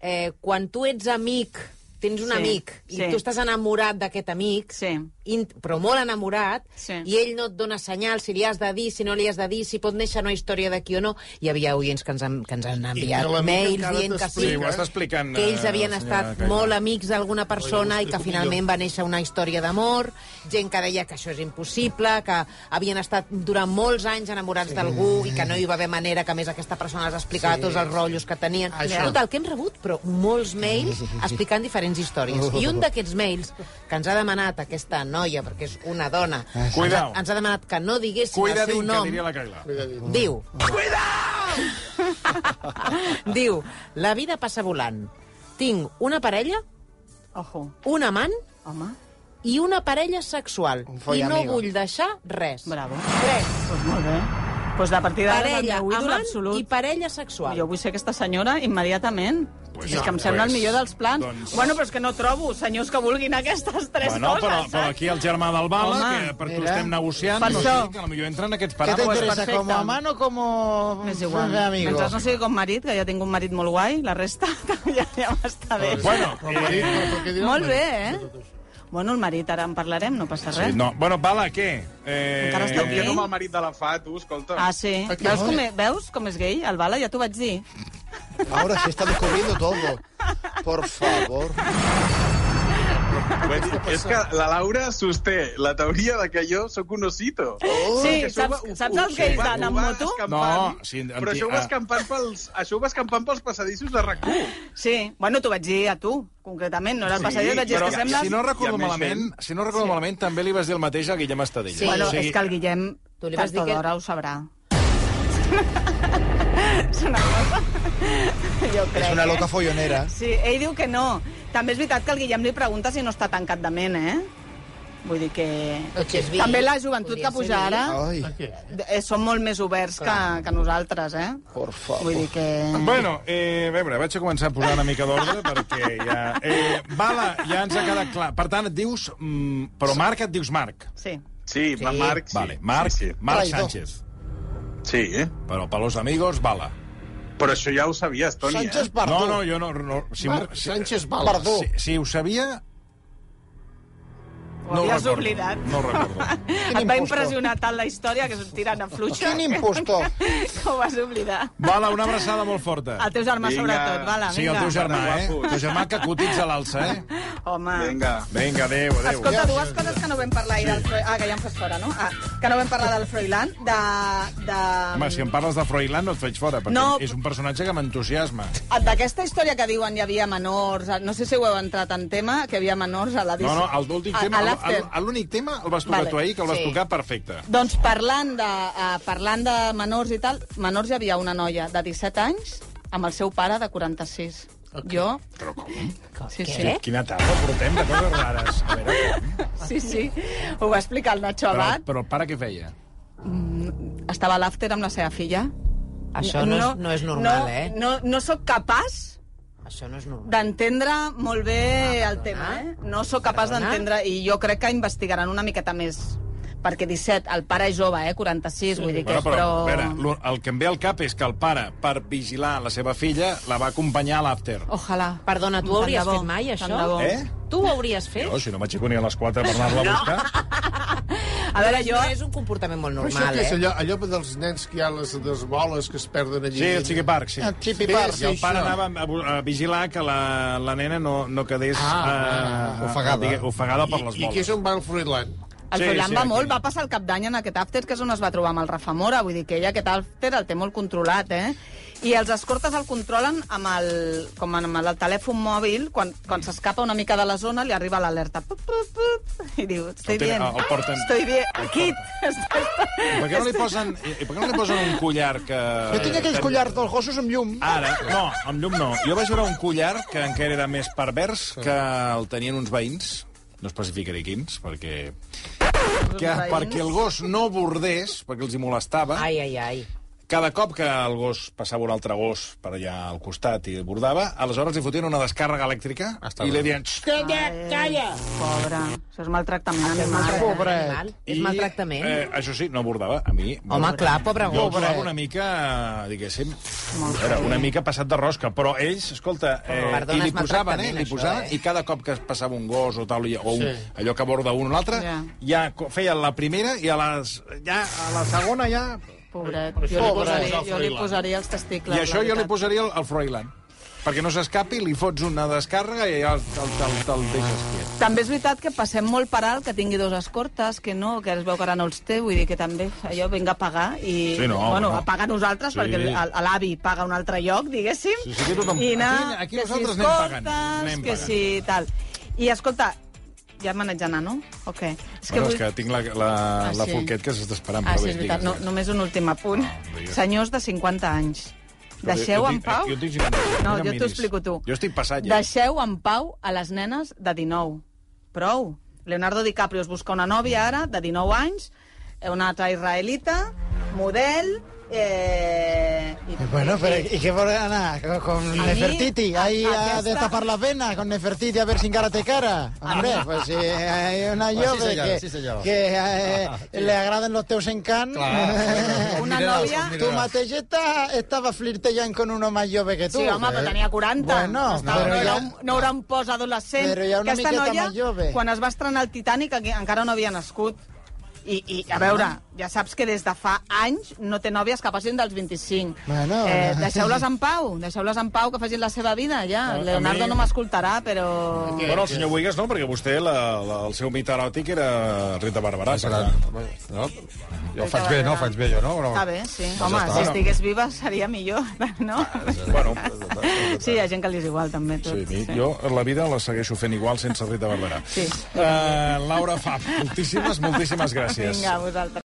Speaker 3: eh, quan tu ets amic, tens un
Speaker 5: Sí,
Speaker 3: amic,
Speaker 5: sí.
Speaker 3: i tu estàs enamorat d'aquest amic,
Speaker 5: Sí.
Speaker 3: in, però molt enamorat,
Speaker 5: Sí.
Speaker 3: i ell no et dona senyal si li has de dir, si no li has de dir, si pot néixer una història d'aquí o no. Hi havia oients que ens han, que ens han enviat
Speaker 10: l'amic
Speaker 3: mails
Speaker 10: encara
Speaker 3: dient que sí,
Speaker 10: t'explica,
Speaker 2: Sí, ho està explicant,
Speaker 3: que ells
Speaker 2: eh,
Speaker 3: havien
Speaker 2: la senyora
Speaker 3: estat
Speaker 2: Caila.
Speaker 3: molt amics d'alguna persona
Speaker 10: Oi,
Speaker 3: i
Speaker 10: ho
Speaker 3: que
Speaker 10: explico
Speaker 3: finalment va néixer una història d'amor, gent que deia que això és impossible, que havien estat durant molts anys enamorats d'algú i que no hi va haver manera que a més aquesta persona els explicava tots els rotllos que tenien.
Speaker 10: Això.
Speaker 3: Total, que hem rebut, però molts mails explicant diferents històries. I un d'aquests mails que ens ha demanat aquesta noia, perquè és una dona, ens ha,
Speaker 2: Cuidao.
Speaker 3: ens ha demanat que no diguéssim el seu
Speaker 2: Cuidadín, que
Speaker 3: nom.
Speaker 2: diria la Caila.
Speaker 3: Diu... Cuidao! Diu, la vida passa volant. Tinc una parella,
Speaker 5: Ojo,
Speaker 3: un amant
Speaker 5: home,
Speaker 3: i una parella sexual.
Speaker 4: Un
Speaker 3: I no
Speaker 4: follamigo.
Speaker 3: vull deixar res.
Speaker 5: bravo.
Speaker 3: Res.
Speaker 5: Pues molt bé. Pues la partida
Speaker 3: Parella,
Speaker 5: d'ara m'ho
Speaker 3: amant
Speaker 5: absolut.
Speaker 3: i parella sexual.
Speaker 5: Jo vull ser aquesta senyora immediatament. Pues és que em sembla el millor dels plans.
Speaker 2: doncs-
Speaker 5: Bueno, però és que no trobo senyors que vulguin aquestes tres
Speaker 2: Bueno,
Speaker 5: coses, eh?
Speaker 2: però,
Speaker 5: saps?
Speaker 2: però aquí el germà del Bala,
Speaker 5: Home,
Speaker 2: que per tu
Speaker 4: mira.
Speaker 2: estem negociant,
Speaker 5: Per
Speaker 2: no sé,
Speaker 5: això.
Speaker 2: que potser entra en aquests
Speaker 4: ¿Qué te
Speaker 2: paràmetres.
Speaker 4: interesa,
Speaker 5: perfecta.
Speaker 4: como amant o como
Speaker 2: Doncs,
Speaker 5: És igual.
Speaker 2: eh,
Speaker 4: amigo?
Speaker 5: Mentre no sigui com marit, que ja tinc un marit molt guai, la resta ja, ja m'està bé.
Speaker 2: Bueno, eh,
Speaker 10: Madrid, però per què dirà
Speaker 5: Molt
Speaker 10: Madrid?
Speaker 5: bé, eh? Bueno, el marit, ara en parlarem, no passa res.
Speaker 2: Sí, no. Bueno, Bala, què? Eh,
Speaker 5: Encara està
Speaker 7: Que no amb
Speaker 5: gay?
Speaker 7: el marit de la Fatu, escolta.
Speaker 5: Ah, sí.
Speaker 7: Aquí,
Speaker 5: Veus
Speaker 7: no?
Speaker 5: com, e- veus com és gay, el Bala? Ja t'ho vaig dir.
Speaker 4: Ahora se está descubriendo todo. Por favor.
Speaker 7: Bé, és que la Laura sosté la teoria de que jo sóc un osito.
Speaker 5: Oh. Sí, saps- saps els gais d'anar amb moto?
Speaker 7: No,
Speaker 2: No, sí, en-
Speaker 7: però això ho,
Speaker 2: ah.
Speaker 7: va escampant pels, això ho va escampant pels passadissos de RAC1.
Speaker 5: Sí, bueno, t'ho vaig dir a tu, concretament, no era el passadís, vaig dir "És que sembles...
Speaker 2: Si no recordo
Speaker 7: hi ha més
Speaker 2: malament, si no recordo malament, també li vas dir el mateix a Guillem Estadella.
Speaker 5: Sí. Bueno, és que el Guillem,
Speaker 3: Tu li vas
Speaker 5: tard o
Speaker 3: dir que-
Speaker 5: d'hora, ho sabrà. és una cosa... Jo crec,
Speaker 4: Es una loca
Speaker 5: eh?
Speaker 4: follonera.
Speaker 5: Sí, ell diu que no. També és veritat que el Guillem li pregunta si no està tancat de ment, eh? Vull dir que...
Speaker 3: Que és vi.
Speaker 5: També la joventut
Speaker 3: Podria
Speaker 5: que puja
Speaker 3: ser vi.
Speaker 5: ara
Speaker 4: Ay,
Speaker 5: eh, són molt més oberts que, que nosaltres, eh?
Speaker 4: por favor.
Speaker 5: Vull dir que...
Speaker 2: Bueno, eh, a veure, vaig a començar a posar una mica d'ordre perquè ja... Eh, Bala, ja ens ha quedat clar. Per tant, et dius... Mm, però Marc et dius Marc.
Speaker 5: Sí.
Speaker 7: Sí, sí. Marc, sí.
Speaker 2: Vale, Marc,
Speaker 7: Sí,
Speaker 2: Marc
Speaker 4: Traïdor.
Speaker 2: Sánchez.
Speaker 7: sí. sí eh?
Speaker 2: Però per los amigos, Bala.
Speaker 7: però això ja ho sabies, Toni.
Speaker 4: Sánchez
Speaker 7: Eh?
Speaker 4: Pardó.
Speaker 2: No, no, jo no... no si,
Speaker 10: Marc Sánchez Bala.
Speaker 4: Pardó.
Speaker 2: si, si ho sabia...
Speaker 5: Ho havies oblidat.
Speaker 2: No ho recordo.
Speaker 5: Et va
Speaker 4: impostor.
Speaker 5: impressionar tant la història que sortiran a fluixa.
Speaker 4: Quin impostor.
Speaker 5: Que ho vas oblidar.
Speaker 2: Bala, una abraçada molt forta.
Speaker 5: El teu germà,
Speaker 7: Vinga.
Speaker 5: sobretot, Bala,
Speaker 2: Sí, el
Speaker 5: Ah, vinga.
Speaker 2: teu germà, eh?
Speaker 7: Guapos.
Speaker 2: El teu germà que cotitza a l'alça, eh?
Speaker 5: Home.
Speaker 7: Vinga.
Speaker 2: Vinga, adéu, adéu.
Speaker 5: Escolta, dues coses que no vam parlar ahir del Froilán. Ah, que ja em fas fora, no? Ah, que no vam parlar del Froilán, de... de...
Speaker 2: Home, si em parles de Froilán no et faig fora, perquè
Speaker 5: eh, No.
Speaker 2: és un personatge que m'entusiasma.
Speaker 5: ah, D'aquesta història que diuen hi havia menors, ah, no sé si heu entrat en tema, que hi havia menors a la
Speaker 2: No, no, el- l'últim tema,
Speaker 5: a, a
Speaker 2: el-
Speaker 5: l'after.
Speaker 2: el- l'únic tema el vas tocar
Speaker 5: Vale,
Speaker 2: tu ahir, que el vas
Speaker 3: sí.
Speaker 2: tocar perfecte.
Speaker 5: Doncs parlant de, uh, parlant de menors i tal, menors hi havia una noia de 17 anys amb el seu pare de 46. Okay. Jo... Però com? Sí, sí.
Speaker 2: Qui- Quina tarda portem de coses rares. A veure, com?
Speaker 5: sí, sí. Ho va explicar el Nacho
Speaker 2: però,
Speaker 5: Abad. Mm,
Speaker 2: però el pare què feia?
Speaker 5: Estava a l'after amb la seva filla.
Speaker 3: Això no, és, no és normal,
Speaker 5: no,
Speaker 3: eh?
Speaker 5: No, no sóc capaç
Speaker 3: Això no és normal.
Speaker 5: d'entendre molt
Speaker 2: Ah,
Speaker 5: bé el tema, eh? No sóc capaç
Speaker 3: Perdona?
Speaker 5: d'entendre i jo crec que investigaran una miqueta més perquè 17, el pare és jove, eh? 46, vull dir que...
Speaker 2: Bueno, però, a veure, lo- el que em ve al cap és que el pare, per vigilar la seva filla, la va acompanyar a l'after.
Speaker 5: Ojalà.
Speaker 3: Perdona, tu ho
Speaker 5: Tant
Speaker 3: hauries
Speaker 5: de bo,
Speaker 3: fet mai, això?
Speaker 5: tant de bo.
Speaker 2: Eh?
Speaker 3: Tu ho hauries fet?
Speaker 2: Jo, si no m'aixeco ni a les 4 per anar-la a buscar...
Speaker 5: A veure, jo...
Speaker 3: No és un comportament molt
Speaker 10: Però això
Speaker 3: normal,
Speaker 10: què és
Speaker 3: eh?
Speaker 10: allò, allò dels nens que hi ha les, les boles que es perden allí?
Speaker 2: Sí, el Chiqui Park, sí.
Speaker 4: El Chiqui
Speaker 2: Sí,
Speaker 4: Park,
Speaker 2: sí, el
Speaker 4: sí,
Speaker 2: pare
Speaker 4: això.
Speaker 2: anava a, bu- a vigilar que la, la nena no, no quedés...
Speaker 10: Ah,
Speaker 2: eh,
Speaker 8: ofegada.
Speaker 2: digue- ofegada per les
Speaker 10: I, I
Speaker 2: boles.
Speaker 10: que és on va el Fruitland?
Speaker 5: El
Speaker 2: Sí,
Speaker 5: sí, Froilán
Speaker 2: sí,
Speaker 5: va
Speaker 2: aquí.
Speaker 5: molt, va passar el cap d'any en aquest after, que és on es va trobar amb el Rafa Mora, vull dir que ella aquest after el té molt controlat, eh? I els escortes el controlen amb el, com amb el telèfon mòbil, quan, quan s'escapa una mica de la zona li arriba l'alerta. Pup, pup, pup, I diu, estoy
Speaker 2: El tenen-
Speaker 5: bien,
Speaker 2: el porten-
Speaker 5: estoy bien, aquí.
Speaker 2: I Per què no li posen, i i per què no li posen un collar que...
Speaker 4: Jo tinc aquells collars dels gossos amb llum.
Speaker 2: Ara, no, amb llum no. Jo vaig veure un collar que encara era més pervers que el tenien uns veïns, no especificaré quins, perquè... Que
Speaker 5: veïns?
Speaker 2: perquè el gos no bordés, perquè els hi molestava,
Speaker 3: Ai, ai, ai.
Speaker 2: cada cop que el gos passava un altre gos per allà al costat i bordava, aleshores li fotien una descàrrega elèctrica
Speaker 10: Està
Speaker 2: i
Speaker 10: bé.
Speaker 2: li deien... "Xxt,
Speaker 5: Calla, calla! Pobre, això és maltractament animal. eh?
Speaker 4: Pobre.
Speaker 3: Animal. És
Speaker 2: I,
Speaker 3: maltractament.
Speaker 2: Eh, això sí, no bordava. A mi...
Speaker 3: Home, clar, pobre
Speaker 2: Jo ho
Speaker 3: gos.
Speaker 2: trobava una mica, diguéssim, era una mica passat de rosca, però ells, escolta, eh,
Speaker 3: Perdona,
Speaker 2: i li posaven, eh,
Speaker 3: és maltractament,
Speaker 2: li
Speaker 3: això,
Speaker 2: posaven,
Speaker 3: eh?
Speaker 2: i cada cop que es passava un gos o tal, o un,
Speaker 10: Sí.
Speaker 2: allò que borda un o l'altre,
Speaker 5: Ja.
Speaker 2: ja co- feien la primera i a, les, ja, a la segona ja...
Speaker 5: Pobret. Jo li,
Speaker 10: Pobre.
Speaker 5: posaria, jo li
Speaker 10: Froilán.
Speaker 5: posaria els testicles.
Speaker 2: I això
Speaker 5: la
Speaker 2: jo li
Speaker 5: veritat.
Speaker 2: posaria el, el Froilán. Perquè no s'escapi, li fots una descàrrega i ja el, el, el, el deixes quiet.
Speaker 5: També és veritat que passem molt per alt que tingui dos escortes, que no, que es veu que ara no els té, vull dir que també allò vinga a pagar i...
Speaker 2: Sí, no,
Speaker 5: bueno,
Speaker 2: no.
Speaker 5: a pagar nosaltres,
Speaker 2: Sí.
Speaker 5: sí. perquè el- el- l'avi paga a un altre lloc, diguéssim.
Speaker 2: Sí, sí, aquí tothom-
Speaker 5: I anar,
Speaker 2: aquí- aquí
Speaker 5: que si
Speaker 2: nosaltres anem
Speaker 5: escoltes,
Speaker 2: pagant, anem
Speaker 5: que
Speaker 2: pagant.
Speaker 5: si tal. I escolta, ja me n'haig d'anar, no? O què? És
Speaker 2: Bueno, és que tinc la, la,
Speaker 5: Ah,
Speaker 2: la
Speaker 5: sí.
Speaker 2: Folquet que s'està esperant.
Speaker 5: Ah,
Speaker 2: però
Speaker 5: sí,
Speaker 2: bé,
Speaker 5: és veritat. No,
Speaker 2: digues,
Speaker 5: només un últim apunt.
Speaker 2: No, digues.
Speaker 5: Senyors de 50 anys,
Speaker 2: Jo-
Speaker 5: deixeu
Speaker 2: jo
Speaker 5: en
Speaker 2: tinc-
Speaker 5: pau...
Speaker 2: Jo tinc 55,
Speaker 5: No,
Speaker 2: em
Speaker 5: jo t'ho
Speaker 2: miris.
Speaker 5: explico tu.
Speaker 2: Jo estic passat ja.
Speaker 5: Deixeu en pau a les nenes de 19. Prou. Leonardo DiCaprio es busca una nòvia ara, de 19 anys, una altra israelita, model, Eh, i,
Speaker 6: Bueno, pero ¿y qué por Ana? Con, con
Speaker 5: A mí,
Speaker 6: Nefertiti,
Speaker 5: a-
Speaker 6: ahí
Speaker 5: aquesta-
Speaker 6: a destapar la vena con Nefertiti a ver sin cara te cara. Hombre,
Speaker 5: Ah.
Speaker 6: pues sí, hay una
Speaker 8: Pues sí,
Speaker 6: llave
Speaker 8: señor,
Speaker 6: que,
Speaker 8: sí, señor.
Speaker 6: que eh, le agraden los teus encantos.
Speaker 5: Una novia...
Speaker 6: Tu matelleta estaba flirtejant con uno más jove que ¿eh? tu.
Speaker 5: Sí, home, però tenia 40.
Speaker 6: Bueno,
Speaker 5: Estava,
Speaker 6: però
Speaker 5: no, era
Speaker 6: ja-
Speaker 5: un, no era un pos adolescent.
Speaker 6: Però ja una
Speaker 5: Aquesta
Speaker 6: miqueta
Speaker 5: noia,
Speaker 6: més jove.
Speaker 5: quan es va estrenar el Titanic, enqu- encara no havia nascut. I, I,
Speaker 6: Ah.
Speaker 5: a veure, ja saps que des de fa anys no té nòvies que passin dels 25.
Speaker 6: Bueno,
Speaker 5: eh,
Speaker 6: no.
Speaker 5: deixeu-les en pau, deixeu-les en pau, que facin la seva vida, ja.
Speaker 2: A- a
Speaker 5: Leonardo
Speaker 2: mi-
Speaker 5: no m'escoltarà, però...
Speaker 2: Bueno, el senyor Buigas no, perquè vostè, la, la, el seu mit eròtic era Rita Barberà. per
Speaker 8: Serà-
Speaker 2: tant.
Speaker 8: No? Jo faig bé, no? Faig bé, jo, no? no?
Speaker 5: Està bé, sí.
Speaker 8: Doncs
Speaker 5: Home,
Speaker 8: ja està.
Speaker 5: si estigués viva seria millor, no?
Speaker 2: Bueno, doncs
Speaker 5: Sí, hi ha gent que li és igual, també, tot.
Speaker 2: sí, mi, jo la vida la segueixo fent igual sense Rita Barberà.
Speaker 5: Sí.
Speaker 2: Uh, Laura Fab, moltíssimes, moltíssimes gràcies.
Speaker 5: Vinga, a vosaltres.